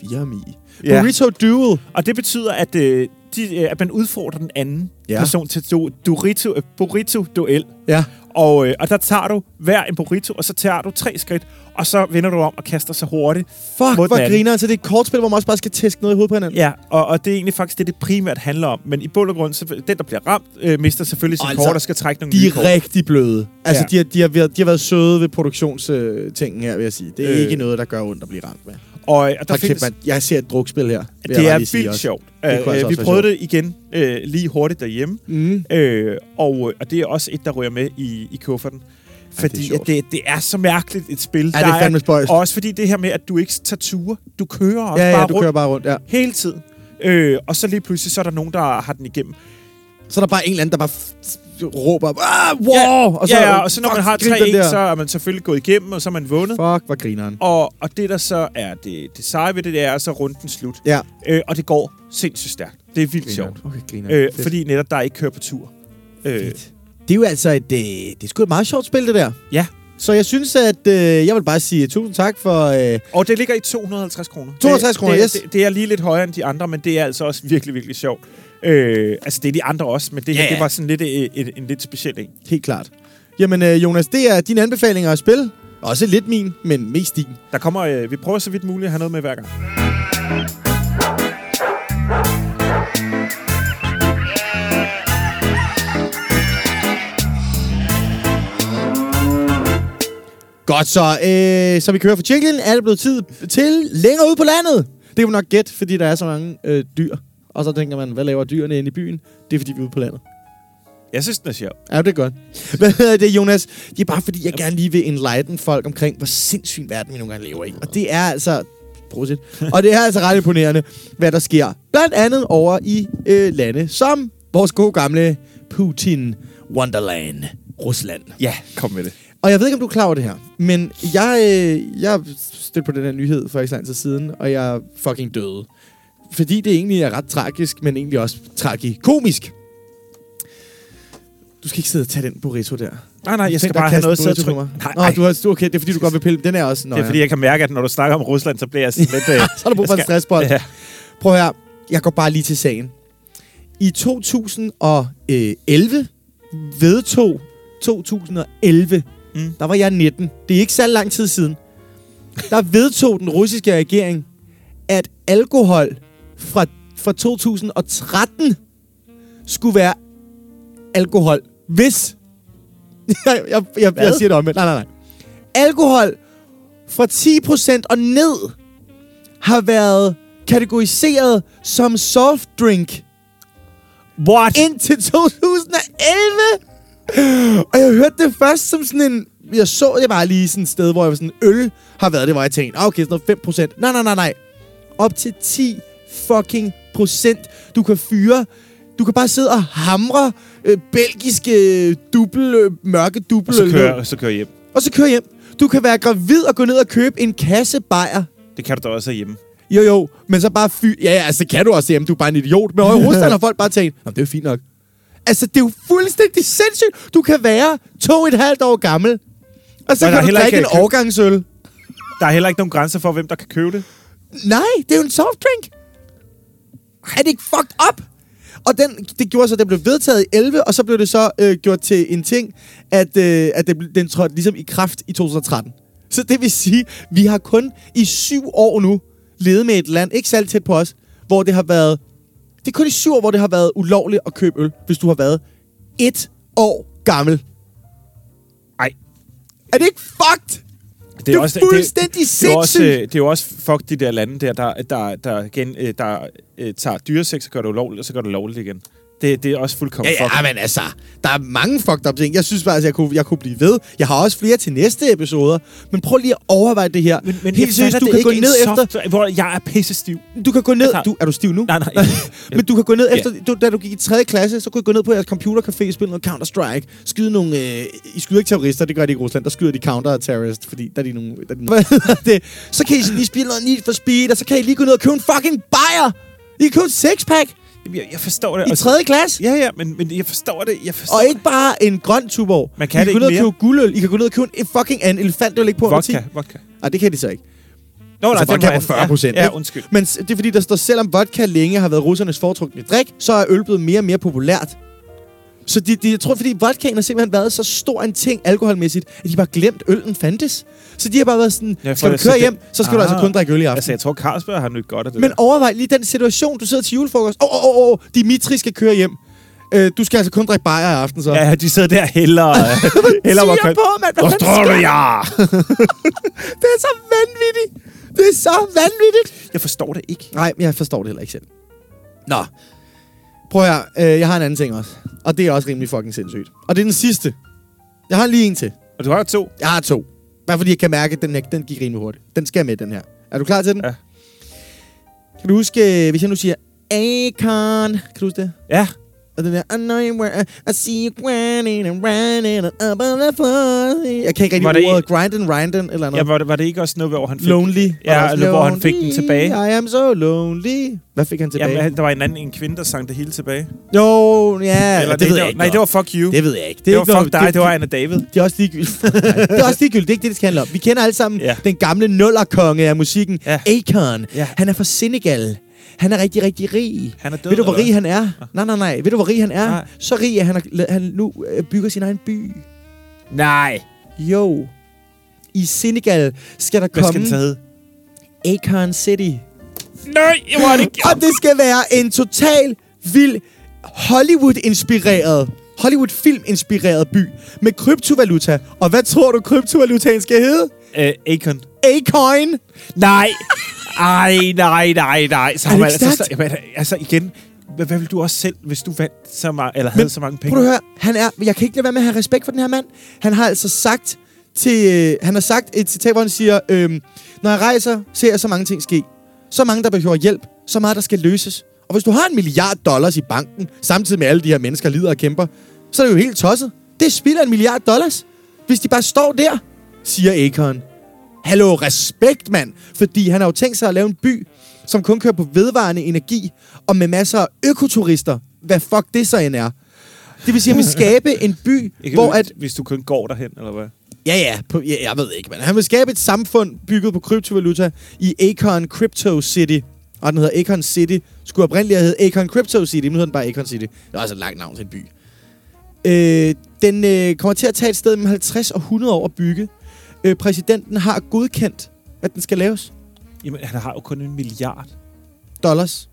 Firmi.
Ja.
Burrito Duel.
Og det betyder, at, øh, de, øh, at man udfordrer den anden
Ja.
ja. person til du, Dorito, øh, Burrito Duel.
Ja.
Og, øh, og der tager du hver en burrito, og så tager du tre skridt, og så vender du om og kaster så hurtigt.
Fuck,
mod den
hvor
anden.
griner Så det er et kortspil, hvor man også bare skal tæske noget i hovedet på hinanden.
Ja, og, og det er egentlig faktisk det, det primært handler om. Men i bund og grund, så den, der bliver ramt, øh, mister selvfølgelig sit
Altså,
altså, kort og skal trække nogle
De
nye
er
kort.
rigtig bløde. Altså,
Ja.
de, har, de, har været, de har været søde ved produktionstingen her, vil jeg sige. Det er øh.
Øh.
ikke noget, der gør ondt at blive ramt med.
Og, øh, og der
Tak, kæft,
findes,
man. Jeg ser et drukspil her. vil jeg
det
bare
er
lige sige
vildt
også.
sjovt.
kunne altså
Øh,
også
vi
være
prøvede det igen øh, lige hurtigt derhjemme.
Mm.
Øh, og, øh, og det er også et, der ryger med i, i kufferten. Fordi
sjovt.
at det, det er så mærkeligt et spil.
Ja, det er fandme spøjst.
Også fordi det her med, at du ikke tager ture. Du kører også
Ja,
bare
ja, du
rundt
kører bare rundt, ja.
hele tiden. Øh, og så lige pludselig, så er der nogen, der har den igennem.
Så er der bare en eller anden, der bare f- f- råber, ah, wow!
og så, ja, ja, og så når man
fuck,
har
grib den
3-1,
der.
så er man selvfølgelig gået igennem, og så er man vundet.
Fuck, hvor grineren.
Og, og det, der så er det, det seje ved det, det er så er runden slut.
Ja.
Øh, og det går sindssygt stærkt. Det er vildt
Grineren.
sjovt.
Okay, griner.
Øh, fordi netop der ikke kører på tur. Øh,
Fedt. Det er jo altså et, øh, det er sgu et meget sjovt spil, det der.
Ja.
Så jeg synes, at øh, jeg vil bare sige tusind tak for... Øh,
og det ligger i 250 kroner.
250
Det-
kroner,
det,
yes.
Det, det er lige lidt højere end de andre, men det er altså også virkelig, virkelig sjovt. Øh, altså, det er de andre også, men det her,
Ja, ja.
det var sådan lidt øh, en, en lidt speciel en.
helt klart. Jamen, øh, Jonas, det er dine anbefalinger at spille. Også lidt min, men mest din.
Der kommer, øh, vi prøver så vidt muligt at have noget med hver gang.
Godt så. Øh, så vi kører for jinglen. Er det blevet tid til længere ude på landet? Det kan man nok gætte, fordi der er så mange øh, dyr. Og så tænker man, hvad laver dyrene inde i byen? Det er, fordi vi er ude på landet.
Jeg synes, den er sjov.
Ja, det er godt. Hvad hedder det, Jonas? Det er bare, fordi jeg gerne lige vil enlighten folk omkring, hvor sindssyg verden vi nogle gange lever i. Og det er altså... Prosit. Og det er altså ret imponerende, hvad der sker. Blandt andet over i øh, lande som vores gode gamle Putin Wonderland, Rusland.
Ja, kom med det.
Og jeg ved ikke, om du er klar over det her, men jeg, øh, jeg stødte på den her nyhed for ikke så lang tid siden, og jeg fucking døde. Fordi det egentlig er ret tragisk, men egentlig også tragikomisk. Du skal ikke sidde og tage den burrito der.
Nej, nej, jeg skal
Tænk dig
bare have
kaste
noget at sidde og
burrito på
trykke.
mig.
Nej,
Nå,
nej.
du har, du, okay, det er fordi, du godt vil pille. Den er også... Nå,
Det er fordi, jeg kan mærke, at når du snakker om Rusland, så bliver jeg sådan lidt... Øh,
Så er der brug for en
jeg skal-
stressbold.
Ja.
Prøv her. Jeg går bare lige til sagen. I 2011 vedtog 2011,
Mm.
mm. der var jeg 19. Det er ikke så lang tid siden. Der vedtog den russiske regering, at alkohol fra, fra 2013 skulle være alkohol, hvis... jeg, jeg, jeg, jeg siger det omvendt. Nej, nej, nej. Alkohol fra 10% og ned har været kategoriseret som soft drink
What?
indtil 2011. Og jeg hørte det først som sådan en... Jeg så det bare lige sådan et sted, hvor jeg var sådan, øl har været det, hvor jeg tænkte, ah, okay, sådan noget 5%. Nej, nej, nej, nej. Op til 10 fucking procent. Du kan fyre... Du kan bare sidde og hamre øh, belgiske øh, dubbel, øh, mørke dubbel.
Og så kører, og så kører jeg hjem.
og så kører hjem. Du kan være gravid og gå ned og købe en kasse bajer
Det kan du da også hjemme.
jo, jo, men så bare fy... Ja, ja, altså, det kan du også jamen, du er bare en idiot. Men over i Rusland har folk bare tænkt, Nå, det er jo fint nok. Altså, det er jo fuldstændig sindssygt. Du kan være to og et halvt år gammel, og så
Men der
kan
er
du
heller
drikke
ikke
en
kø-
årgangsøl.
Der er heller ikke nogen grænser for, hvem der kan købe det.
Nej, det er jo en softdrink. Er det ikke fucked up? Og den, det gjorde så, at den blev vedtaget i 11, og så blev det så øh, gjort til en ting, at, øh, at den, blev- den trådte ligesom i kraft i 2013. Så det vil sige, vi har kun i syv år nu levet med et land, ikke særlig tæt på os, hvor det har været... Det er kun i syv år, hvor det har været ulovligt at købe øl, hvis du har været et år gammel.
Ej.
Er det ikke fucked? Det er fuldstændig
det, det, er også, øh,
sindssygt.
det er jo også fuck de der lande der, der, der, der, igen, øh, der øh, tager dyreseks og gør det ulovligt, og så gør det lovligt igen. Det, det er også fuldkommen
Ja, ja,
fuck.
men altså, der er mange fucked up ting. Jeg synes faktisk, jeg kunne, jeg kunne blive ved. Jeg har også flere til næste episoder. Men prøv lige at overveje det her. Helt seriøst, du kan gå ned efter...
efter... Hvor jeg er pisse stiv.
Du kan gå ned...
Altså-
Du, er du stiv nu?
Nej, nej.
Men du kan gå ned efter... Du, da du gik i 3. klasse, så kunne I gå ned på jeres computercafé, spille noget Counter-Strike, skyde nogle... Øh, I skyder ikke terrorister, det gør de ikke i Rusland. Der skyder de counter-terrorist, fordi der er de nogle... Der er de nogle Hvad hedder det? Så kan I sådan lige spille noget Need for Speed, og så kan I lige gå ned og købe en fucking bajer! I kan købe en sixpack
Jamen, Jeg, jeg forstår det.
i
Og-
3. klasse!
Ja, ja, men, men jeg forstår det. Jeg forstår
Og ikke bare en grøn tuborg.
Man kan
I
det
gå ned og
ikke mere.
købe guldøl. I kan gå ned og købe en fucking en elefant, der ligger på
det.
under 10.
Vodka, vodka.
Nej, det kan de så ikke.
Nå,
Altså,
den
vodka
var
var
anden.
40 procent.
Ja, ja, undskyld.
Men s- det er fordi, der står, selvom vodka længe har været russernes foretrukne drik, så er øl blevet mere og mere populært. Så de, de, jeg tror, fordi vodkaen har simpelthen været så stor en ting alkoholmæssigt, at de bare glemt, øllen fandtes. Så de har bare været sådan,
Ja,
ja,
for
skal du
det-
køre
så
hjem,
det-
så skal ah, du altså
Ah.
kun drikke øl i aften.
Altså, jeg tror, Carlsberg har nyt godt af det
Men
der.
overvej lige den situation, du sidder til julefrokost. Åh, åh, åh, åh, Dimitri skal køre hjem. Øh, du skal altså kun drikke bajer i aften, så.
Ja, de sidder der hellere... hellere
Siger
var-
på, mand, hvad fanden sker der?
Australia!
Det er så vanvittigt. Det er så vanvittigt.
Jeg forstår det ikke.
Nej, men jeg forstår det heller ikke selv. Nå. Prøv at høre, øh, jeg har en anden ting også. Og det er også rimelig fucking sindssygt. Og det er den sidste. Jeg har lige en til.
Og du har to.
Jeg har to. Bare fordi jeg kan mærke, at den, her, den gik rimelig hurtigt. Den skal med, den her. Er du klar til den?
Ja.
Kan du huske, øh, hvis jeg nu siger Akon. Kan du huske det?
Ja.
Og den der, I know you were, I see you grinding and grinding and up on the floor. Jeg kan ikke
Var
rigtig
det
ordet grind and grind and, eller noget.
ja var, det, var det ikke også noget, hvor han fik...
lonely.
Ja,
Var der også
eller hvor han fik den
lonely,
tilbage.
I am so lonely. Hvad fik han tilbage?
Jamen, han- der var en anden en kvinde, der sang det hele tilbage.
jo, ja,
Eller
det, det ved jeg ikke.
Nej, det var fuck you.
det ved jeg ikke.
Det,
er
var
ikke
fuck dig,
det,
det var Anna David.
det er også ligegyldigt. det er også ligegyldigt. Det er ikke det, det skal handle om. Vi kender alle sammen
Ja.
ja. den gamle nullerkonge af musikken,
Ja.
ja. Akon.
Ja.
Ja. Han er fra Senegal. Han er rigtig, rigtig rig.
Han er død,
Ved du, hvor
eller
rig han er? Nej, nej, nej. Ved du, hvor rig han er?
Nej.
Nej. Så rig, at han, er, han nu øh, bygger sin egen by.
Nej.
Jo. I Senegal skal der
Hvad skal
komme
den så hedde?
Akon City.
Nej, jeg var det ikke.
Og det skal være en total vild Hollywood-inspireret, Hollywood-film-inspireret by med kryptovaluta. Og hvad tror du, kryptovalutaen skal hedde?
Øh, Akon.
A-coin.
Nej. Ej, nej, nej, nej. Så
Er det
var
ikke
altså, så,
stærkt?
jamen, altså igen, hvad, hvad ville du også selv, hvis du vandt så meget, eller havde så mange penge?
Prøv at høre, han er, jeg kan ikke lade være med at have respekt for den her mand. Han har altså sagt til, øh, han har sagt et citat, hvor han siger, øhm, når jeg rejser, ser jeg så mange ting ske. Så mange, der behøver hjælp. Så meget, der skal løses. Og hvis du har en milliard dollars i banken, samtidig med alle de her mennesker lider og kæmper, så er det jo helt tosset. Det spilder en milliard dollars, hvis de bare står der, siger Akon. Hallo, respekt, mand! Fordi han har jo tænkt sig at lave en by, som kun kører på vedvarende energi, og med masser af økoturister. Hvad fuck det så end er. Det vil sige, at han vil skabe en by,
Ikke,
hvor
hvis,
at...
hvis du kun går derhen, eller hvad?
Ja, ja, på, ja, jeg ved ikke, men han vil skabe et samfund bygget på kryptovaluta i Akon Crypto City. Og den hedder Akon City. Skulle oprindeligt have heddet Akon Crypto City, men nu hedder den bare Akon City. Det er også et langt navn til en by. Øh, den øh, kommer til at tage et sted mellem 50 og 100 år at bygge. Øh, præsidenten har godkendt, at den skal laves.
Jamen, han har jo kun en milliard.
Dollars.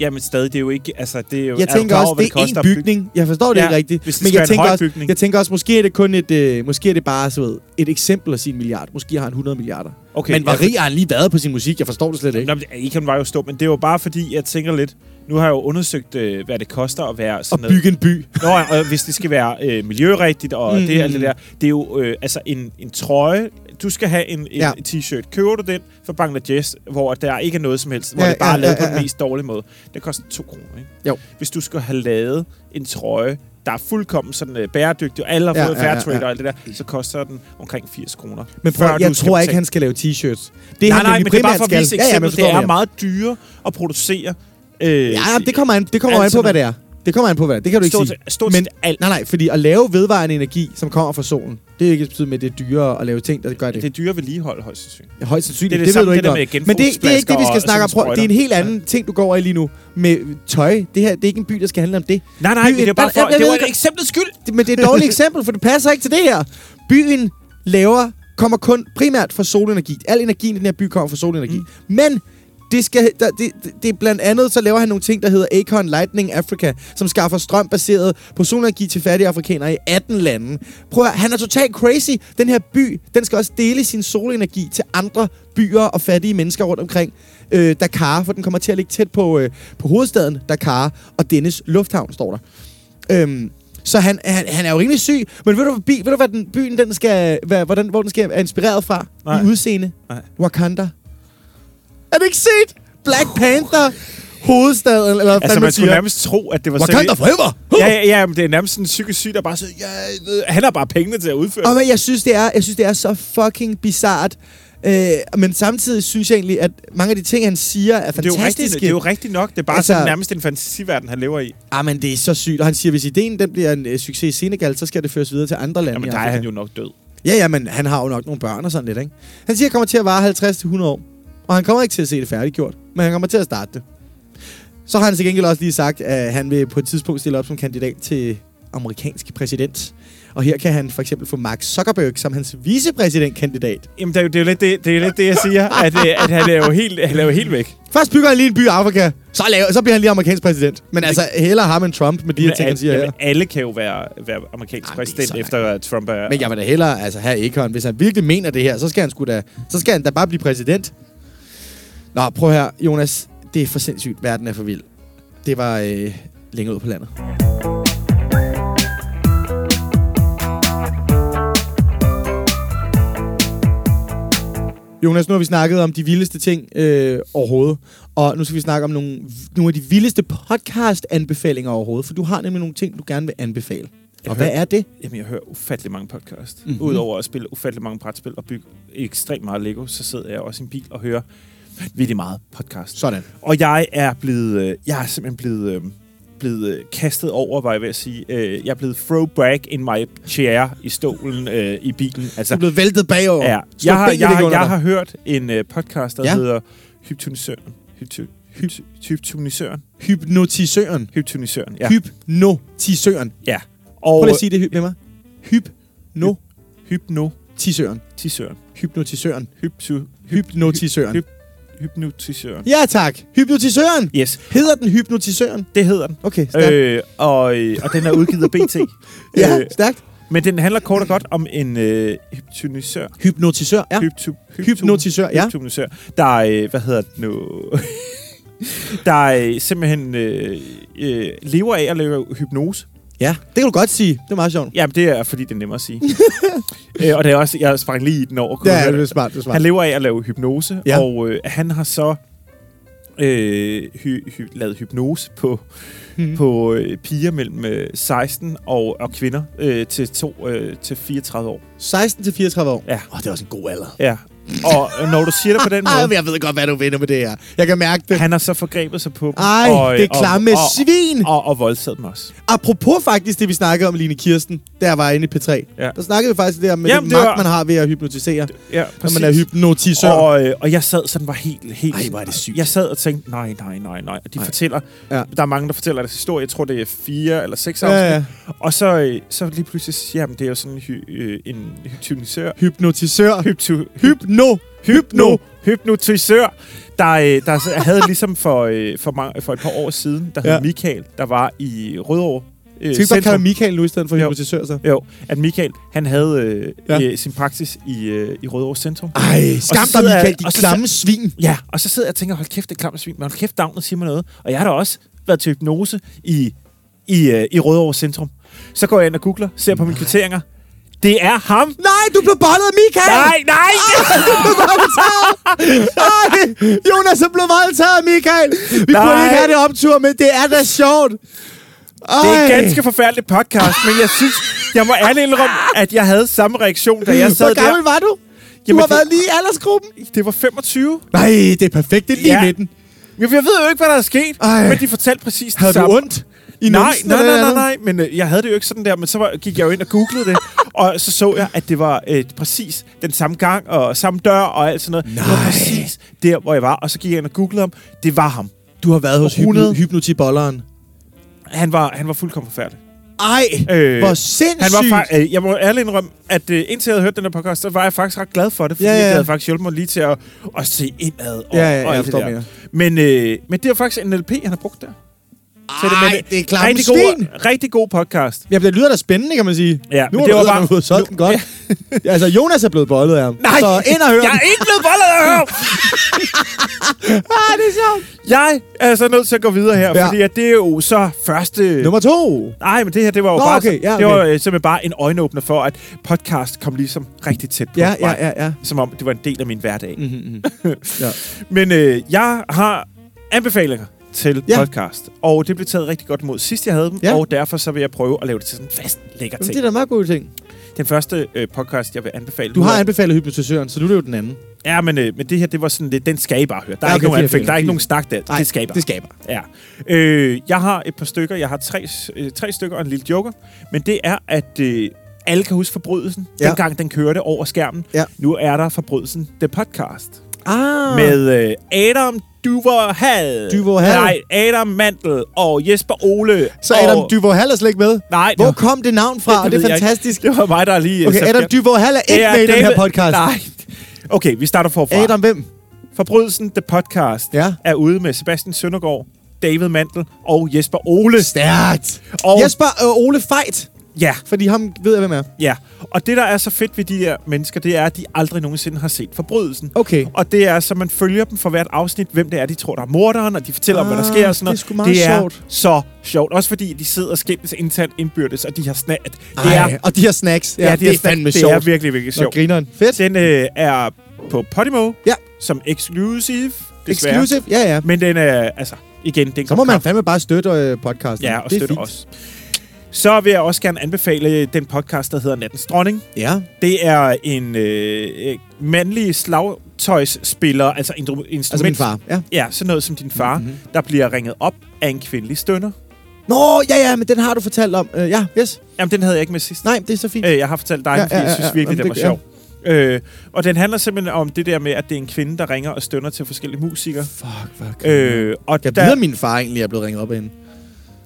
Jamen stadig, det er jo ikke... Altså, det er jo,
Jeg
er du
tænker
klar
også,
over, hvad
det er
koster
én
at bygge-
bygning. Jeg forstår det
Ja,
ikke rigtigt.
hvis det
men
skal
jeg
være en
tænker,
høj
også,
bygning.
jeg tænker også, måske er det kun et, øh, måske er det bare så ved, et eksempel af sin milliard. Måske har han 100 milliarder.
Okay,
men hvor
jeg-
rig har han lige været på sin musik? Jeg forstår det slet ikke.
Nå, men Ikon var jo stum, men det er jo bare fordi, jeg tænker lidt... Nu har jeg jo undersøgt, øh, hvad det koster at være sådan
At bygge en by.
noget. Nå, og hvis det skal være øh, miljørigtigt og mm. det og alt det der. Det er jo øh, altså en, en trøje. Du skal have en, en ja.
Ja.
t-shirt. Køber du den fra Bangladesh, hvor der ikke er noget som helst, hvor ja,
Ja,
det bare
ja,
er lavet
ja,
på
ja,
den
ja.
mest dårlige måde. Det koster to kroner, ikke?
Jo.
Hvis du skal have lavet en trøje, der er fuldkommen sådan øh, bæredygtig, og alle har
Ja,
fået
ja, ja,
fair trade
ja.
og alt det der, så koster den omkring 80 kroner.
Men
før
prøv,
du
jeg
skal
tror
betale.
ikke, han skal lave t-shirts. Det
Nej,
han
nej,
nemlig
men det er bare for at
primært
vise
skal. Ja, ja, men
eksemplet.
forstår
det er
jeg.
meget dyre at producere. Øh,
Ja, ja, det kommer an, det kommer an
Altså,
på, hvad det er. Det kommer an på, hvad det er. Det kan du ikke
Stort
sige.
set- stort set
Men-
alt.
Nej, nej, fordi at lave vedvarende energi, som kommer fra solen, det er ikke betydet med, at det er dyrere at lave ting, der gør det.
Det er dyre vedligehold, højst sandsynligt.
Højst sandsynligt,
Det er
det,
det
det,
samme-
ved du
det der
ikke
med
noget. Men det, det er ikke det, vi
genbrugsflasker
skal
og
snakke om. Prøv, det er en
sprøjter.
helt anden ting, du går over i lige nu med tøj. Det her, det er ikke en by, der skal handle om det.
Nej, nej, men det er bare for,
Jeg- jeg
det
ved
var et
ikke-
eksempel skyld.
Det- Men det er et dårligt eksempel, for det passer ikke til det her. Byen laver, kommer kun primært fra solenergi. Al energien i den her by kommer fra solenergi. Mm. Men det, skal, der, det, det, det er blandt andet, så laver han nogle ting, der hedder Acorn Lightning Africa, som skaffer strøm baseret på solenergi til fattige afrikanere i 18 lande. Prøv at, høre, han er totalt crazy. Den her by, den skal også dele sin solenergi til andre byer og fattige mennesker rundt omkring øh, Dakar, for den kommer til at ligge tæt på, øh, på hovedstaden Dakar, og dennes lufthavn står der. Øhm, så han, han, han er jo rimelig syg, men ved du, hvad bi- ved du hvad den, byen den skal, hvad, hvordan, hvor den skal er inspireret fra
Nej.
i udseende?
Nej.
Wakanda. Er det ikke set? Black Panther, hovedstaden, eller hvad
Altså,
fanden
man
man
skulle
siger.
nærmest tro, at det var
Wakanda
seriøst.
forever!
Ja, ja, ja, men det er nærmest sådan en psykisk syg, der bare siger, ja, øh, han har bare pengene til at udføre.
Og
det."
men jeg synes, det er, jeg synes, det er så fucking bizart. Øh, men samtidig synes jeg egentlig, at mange af de ting, han siger, er
Det er, jo rigtigt,
fantastiske.
det er jo rigtigt nok. Det er bare altså,
Altså-
sådan, nærmest en fantasiverden, han lever i.
Ah, men det er så sygt. Og han siger, hvis ideen den bliver en øh, succes i Senegal, så skal det føres videre til andre lande.
Jamen,
i
der er
Afrika.
han jo nok død.
Ja, ja, men han har jo nok nogle børn og sådan lidt, ikke? Han siger, at han kommer til at vare 50-100 år. Og han kommer ikke til at se det færdiggjort, men han kommer til at starte det. Så har han til gengæld også lige sagt, at han vil på et tidspunkt stille op som kandidat til amerikansk præsident. Og her kan han for eksempel få Mark Zuckerberg som hans vicepræsidentkandidat.
Jamen, det er jo, det er jo lidt, det, det, er jo lidt det, jeg siger, at, øh, at han er jo helt, han er jo helt væk.
Først bygger han lige en by i Afrika, så, laver, så bliver han lige amerikansk præsident. Men altså, hellere ham end Trump med de her ting, han siger her.
jamen, alle kan jo være, være amerikansk
Jamen, det er
præsident,
så
efter at Trump er...
Men jeg vil da hellere altså, have Ekon. Hvis han virkelig mener det her, så skal han, sgu da, så skal han da bare blive præsident. Nå, prøv her, Jonas. Det er for sindssygt. Verden er for vild. Det var øh, længere ud på landet. Jonas, nu har vi snakket om de vildeste ting øh, overhovedet, og nu skal vi snakke om nogle, nogle af de vildeste podcast-anbefalinger overhovedet, for du har nemlig nogle ting, du gerne vil anbefale. Og hvad er det?
Jamen, jeg hører ufattelig mange podcast.
Mhm.
Mm-hmm. Udover at spille ufattelig mange brætspil og bygge ekstremt meget Lego, så sidder jeg også i en bil og hører virkelig meget podcast.
Sådan.
Og jeg er blevet, øh, jeg er simpelthen blevet, øh, blevet øh, kastet over, var jeg ved at sige. Øh, jeg er blevet throwback in my chair i stolen øh, i bilen.
Du
Altså,
er blevet væltet bagover.
ja.
Slå
jeg, har,
benet
jeg,
væk
har,
under
jeg
dig.
har hørt en øh, podcast, der
Ja.
ja. hedder Hyptonisøren. Hypto- hyp- Hyptonisøren.
Hypnotisøren.
Hyptonisøren,
Ja. øh,
ja.
Hypnotisøren.
ja. Og
Prøv lige at sige det hy- med mig. Hypnotisøren.
hypnotisøren.
Hypnotisøren.
Hypto-
Hypnotisøren.
Hyp- hypnotisøren.
Ja tak. Hypnotisøren.
Yes,
Hedder den hypnotisøren?
det hedder den.
Okay, stærkt. Øh,
Øh, og, øh, og den er udgivet af BT.
ja,
øh,
stærkt.
Men den handler kort og godt om en øh, hypnotisør.
Hypnotisør, ja.
Hypto, hypto,
Hypnotisør, ja.
Hypnotisør. Der er, øh, hvad hedder det nu? der er øh, simpelthen øh, øh, lever af at lave hypnose.
Ja, det kan du godt sige. Det er meget sjovt.
Jamen, det er, fordi det er nemmere at sige. øh, og det er også, jeg sprang lige i den over. kunne
Ja,
du høre
det er smart, det er smart.
han lever af at lave hypnose,
Ja.
ja. og øh, han har så øh, hy, hy, lavet hypnose på,
Mhm.
mm. på øh, piger mellem øh, 16 og, og kvinder øh, til, to, øh, til 34 år.
16 til 34 år.
Ja.
Åh, det er også en god alder.
Ja. Og øh, når du siger det på den
Ej,
måde,
men jeg ved godt, hvad du vinder med det her. Jeg kan mærke det.
han har så forgrebet sig på dem.
Ej,
og, øh,
det er klamme
og, og,
svin.
og, og voldtaget dem også.
Apropos faktisk det, vi snakkede om, Line Kirsten, der var inde i P3.
Ja.
Der snakkede vi faktisk det her med
Jamen,
den
det
magt,
var-
man har ved at hypnotisere.
Ja,
Når man er hypnotisør.
Og, øh, og jeg sad sådan var helt... helt
Ej, hvor er det sygt.
Jeg sad og tænkte, nej, nej, nej, nej. Og de
Nej.
fortæller...
Ja.
Ja. Der er mange, der fortæller deres historie. Jeg tror, det er fire eller seks
Ja,
afsnit.
ja.
Og så, øh, så lige pludselig siger jeg, "Jamen, det er jo sådan en, hy, øh, en hypnotisør.
Hypnotisør.
Hypto,
Hypno.
hypno, hypnotisør, der, øh, der s- havde ligesom for, øh, for, mange, for et par år siden, der hed
Ja.
ja. Michael, der var i Rødovre. Øh,
Skal vi ikke bare
centrum.
kalde Michael nu i stedet for
Jo.
hypnotisør så?
Jo, at Michael, han havde øh,
Ja.
ja. øh, sin praksis i, øh, i Rødovre Centrum.
Ej, skam dig
sidder jeg-
Michael, de
og så
klamme svin.
Ja, og så sidder jeg og tænker, hold kæft, det er klamt svin, men hold kæft, navnet siger mig noget. Og jeg har da også været til hypnose i, i, øh, i Rødovre Centrum. Så går jeg ind og googler, ser på mine kvitteringer. Det er ham!
Nej, du blev bollet af Michael!
Nej, nej!
Du blev voldtaget! Ej, Jonas er blevet voldtaget af Michael! Vi
Nej.
burde ikke have det optur, men det er da sjovt! Ej.
Det er en ganske forfærdelig podcast, men jeg synes, jeg må ærligt indrømme, at jeg havde samme reaktion, da jeg sad
Hvor gammel
der.
var du? Du
Jamen,
har
det-
været lige i aldersgruppen.
Det var 25.
Nej, det er perfekt. Det er lige
Ja.
ja. midten.
Jeg jeg ved jo ikke, hvad der er sket,
Ej.
men de fortalte præcis
Havde
det samme.
du ondt? I
Nej,
numsen
nej,
eller
nej, nej,
andet?
nej, men øh, jeg havde det jo ikke sådan der, men så var, gik jeg jo ind og googlede det, og så så jeg, at det var øh, præcis den samme gang og samme dør og alt sådan noget. Det var
Nej.
præcis der, hvor jeg var, og så gik jeg ind og googlede ham. Det var ham.
Du har været hos
100.
hypno- hypnotibolleren.
Han var, han var fuldkommen forfærdelig.
Ej,
Øh,
hvor
Han
sindssygt!
var fa- øh, jeg må ærligt indrømme, at øh, indtil jeg havde hørt den her podcast, så var jeg faktisk ret glad for det, fordi
Ja,
ja,
ja, ja.
ja. det havde faktisk hjulpet mig lige til at, at se indad og,
Ja, ja, ja,
og
jeg
alt det
forstår
der.
mere.
Men, øh, men det er faktisk NLP, han har brugt der. Så
Ej,
men, øh,
det er klamme
rigtig
svin.
God, rigtig god podcast.
Ja, det lyder da spændende, kan man sige.
Ja,
nu
men
har
det
du
var
bare...
bare-
fået solgt den godt. Ja. altså, Jonas er blevet bollet af ham. Så ind og hør
Jeg
den.
er ikke blevet bollet af ham!
Ah, det er sjovt.
Jeg er så nødt til at gå videre her,
Ja.
ja. fordi at det er jo så første...
Nummer to.
Nej, men det her, det var jo
Nå,
bare,
okay, ja, okay.
det var, øh, simpelthen bare en øjenåbner for, at podcast kom ligesom rigtig tæt på
Ja, ja,
mig.
ja, ja.
Som om det var en del af min hverdag. Mm.
Mm-hmm. ja.
Men øh, jeg har anbefalinger til
Ja.
ja. podcast, og det blev taget rigtig godt imod sidst, jeg havde dem,
Ja.
ja. og derfor så vil jeg prøve at lave det til sådan en fast lækker
Jamen,
ting.
det er da meget gode ting.
Den første øh, podcast, jeg vil anbefale...
Du
nu
har
er-
anbefalet hypnotisøren, så nu er det jo den anden.
Ja, men, øh, men det her, det var sådan lidt... Den skal I bare høre. Der er
Ja, okay,
ikke nogen
fint,
anbefaling,
fint,
der er ikke
fint.
nogen snak der.
Nej,
det skal I bare.
Det skaber.
Ja. Øh, jeg har et par stykker. Jeg har tre, øh, tre stykker og en lille joker. Men det er, at øh, alle kan huske forbrydelsen.
Ja.
Ja. Dengang den kørte over skærmen.
Ja.
Nu er der forbrydelsen The Podcast.
Ah.
med øh, Adam Duverhal.
Duverhal.
Nej, Adam Mandel og Jesper Ole.
Så
og...
Adam Duvohal er slet ikke med?
Nej,
Hvor
det-
kom det navn fra? Det,
ved
det er
jeg ikke.
fantastisk.
Det var mig, der lige... øh,
Okay,
satte
Adam
gang.
Duvohal er ikke
Det er
med i den her
David-
podcast.
Nej. Okay, vi starter forfra.
Adam hvem?
Forbrydelsen The Podcast
Ja.
er ude med Sebastian Søndergaard, David Mandel og Jesper Ole.
Stærkt.
Og-
Jesper øh, Ole Fejt,
Ja,
fordi ham ved jeg, hvem er.
ja. Og det, der er så fedt ved de her mennesker, det er, at de aldrig nogensinde har set forbrydelsen.
Okay.
Og det er, så man følger dem for hvert afsnit, hvem det er, de tror, der er morderen, og de fortæller ah, om, hvad der sker og sådan
Ah, det
noget.
er sgu meget
det er
sjovt.
så sjovt. Også fordi de sidder og skændes internt indbyrdes, og de har snat. Det er,
Ej, og de her snacks. Ja,
de
det er
har
fandme
det
sjovt.
er virkelig, virkelig
Nå,
sjovt.
grineren. Fedt.
Den øh, er på Podimo
Ja.
som exclusive, desværre.
Exclusive. Ja, ja.
Men den er, altså, igen, den
Så må man fandme bare støtte øh, podcasten.
Ja, og
det er
støtte
fint.
os. Så vil jeg også gerne anbefale den podcast, der hedder Nattens Dronning.
Ja.
Det er en øh, øh, mandlig slagtøjsspiller, altså en instrument.
Altså min far. Mhm. Ja.
Ja, sådan noget som din far, mm-hmm. der bliver ringet op af en kvindelig stønder.
Nå, ja, ja, men den har du fortalt om. Øh, ja, yes.
Jamen, den havde jeg ikke med sidst.
Nej, det er så fint.
Øh, jeg har fortalt dig, ja, fordi ja, ja, jeg synes virkelig,
Jamen,
den var
det-
sjov. Øh, og den handler simpelthen om det der med, at det er en kvinde, der ringer og stønder til forskellige musikere.
Fuck, fuck.
Øh, og
Jeg ved, at min far egentlig er blevet ringet op af hende.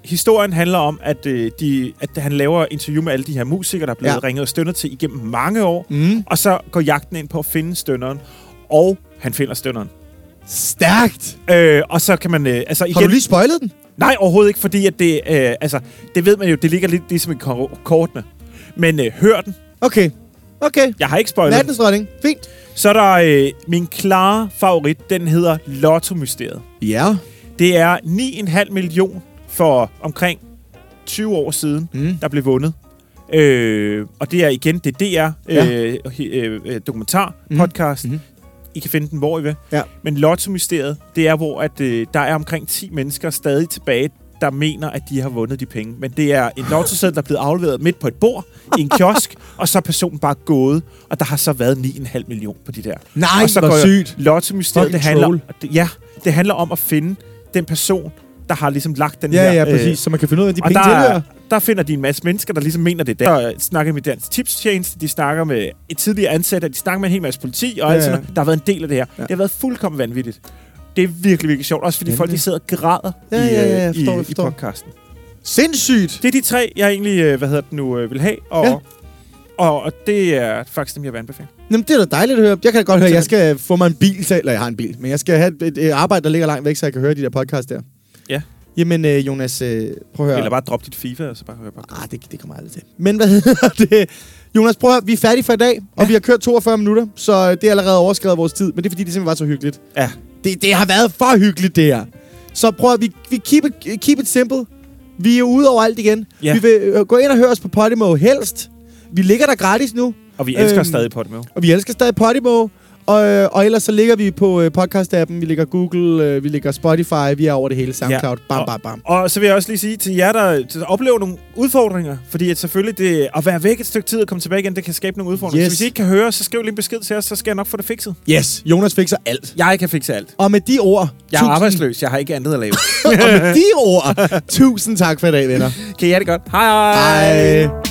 historien handler om, at, øh, de, at han laver interview med alle de her musikere, der er blevet
Ja.
ja. ringet og stønnet til igennem mange år.
Mm.
Og så går jagten ind på at finde stønneren, og han finder stønneren.
Stærkt.
Øh, og så kan man... Øh, altså igen,
Har du lige spoilet den?
Nej, overhovedet ikke, fordi at det... Øh, altså, det ved man jo, det ligger lidt ligesom i kor- kortene. Men øh, hør den.
Okay. Okay.
Jeg har ikke spoilet. den.
Nattens dronning. Fint.
Så er der øh, min klare favorit. Den hedder Lotto-mysteriet.
Ja.
Det er 9,5 million for omkring 20 år siden,
Mm.
mm. der blev vundet. Øh, og det er igen det DR ja. øh, he- øh, øh, dokumentar
Mhm.
podcast.
Mhm.
Mm. I kan finde den hvor I vil.
Ja.
Men Lotto-mysteriet, det er hvor at øh, der er omkring 10 mennesker stadig tilbage der mener, at de har vundet de penge. Men det er en lottoseddel, der er blevet afleveret midt på et bord i en kiosk, og så er personen bare gået, og der har så været 9,5 million på de der.
Nej,
og så
hvor
går
sygt.
Lotto-mysteriet, det
Fucking
handler,
troll.
det- ja, det handler om at finde den person, der har ligesom lagt den her...
Ja, ja, præcis. Så man kan finde ud af, de
og
penge tilhører.
der, der finder de en masse mennesker, der ligesom mener, det er der. Der snakker med deres tipstjeneste, de snakker med et tidligere ansatte, de snakker med en hel masse politi, og
Ja,
ja, alt
ja.
sådan noget. Der har været en del af det her. Ja. Det har været fuldkommen vanvittigt. Det er virkelig, virkelig sjovt. Også fordi folk, de
Spændende.
sidder og græder
Ja,
i, øh,
ja, ja, jeg forstår,
i,
jeg forstår.
i podcasten.
Sindssygt.
Det er de tre, jeg egentlig, øh, hvad hedder det nu, øh, vil have. Og,
Ja.
ja. og, og det er faktisk dem, jeg vil anbefale.
Jamen, det er da dejligt at høre. Jeg kan da godt høre, jeg skal få mig en bil til, eller jeg har en bil, men jeg skal have et, et, et arbejde, der ligger langt væk, så jeg kan høre de der podcast der.
Ja.
Jamen, øh, Jonas, øh, prøv at høre.
Eller bare drop dit FIFA, og så bare høre på.
Ah, det, det kommer jeg aldrig til. Men hvad hedder det? Jonas, prøv at høre, vi er færdige for i dag, og vi har kørt 42 minutter, så det er allerede overskrevet vores tid, men det er fordi, det simpelthen var så hyggeligt.
Ja.
Det, det har været for hyggeligt, det her. Så prøv at vi, vi keep, it, keep it simple. Vi er ude over alt igen.
Ja.
Vi vil øh, gå ind og høre os på Podimo helst. Vi ligger der gratis nu,
Og vi elsker
Øhm,
øhm, stadig på det med.
og vi elsker stadig Podimo. Og, øh, og ellers så ligger vi på øh, podcast-appen, vi ligger Google, øh, vi ligger Spotify, vi er over det hele, SoundCloud, ja. bam,
Og-
bam, bam.
Og så vil jeg også lige sige til jer, der, der oplever nogle udfordringer, fordi at selvfølgelig det, at være væk et stykke tid og komme tilbage igen, det kan skabe nogle udfordringer.
Yes.
Yes. Så hvis I ikke kan høre, så skriv lige en besked til os, så skal jeg nok få det fikset.
Yes, Jonas fikser alt.
Jeg kan fikse alt.
Og med de ord,
Jeg er
tusind-
arbejdsløs, jeg har ikke andet at lave.
Og med de ord, tusind tak for i dag, venner.
kan I have det godt? Hej!
Hej.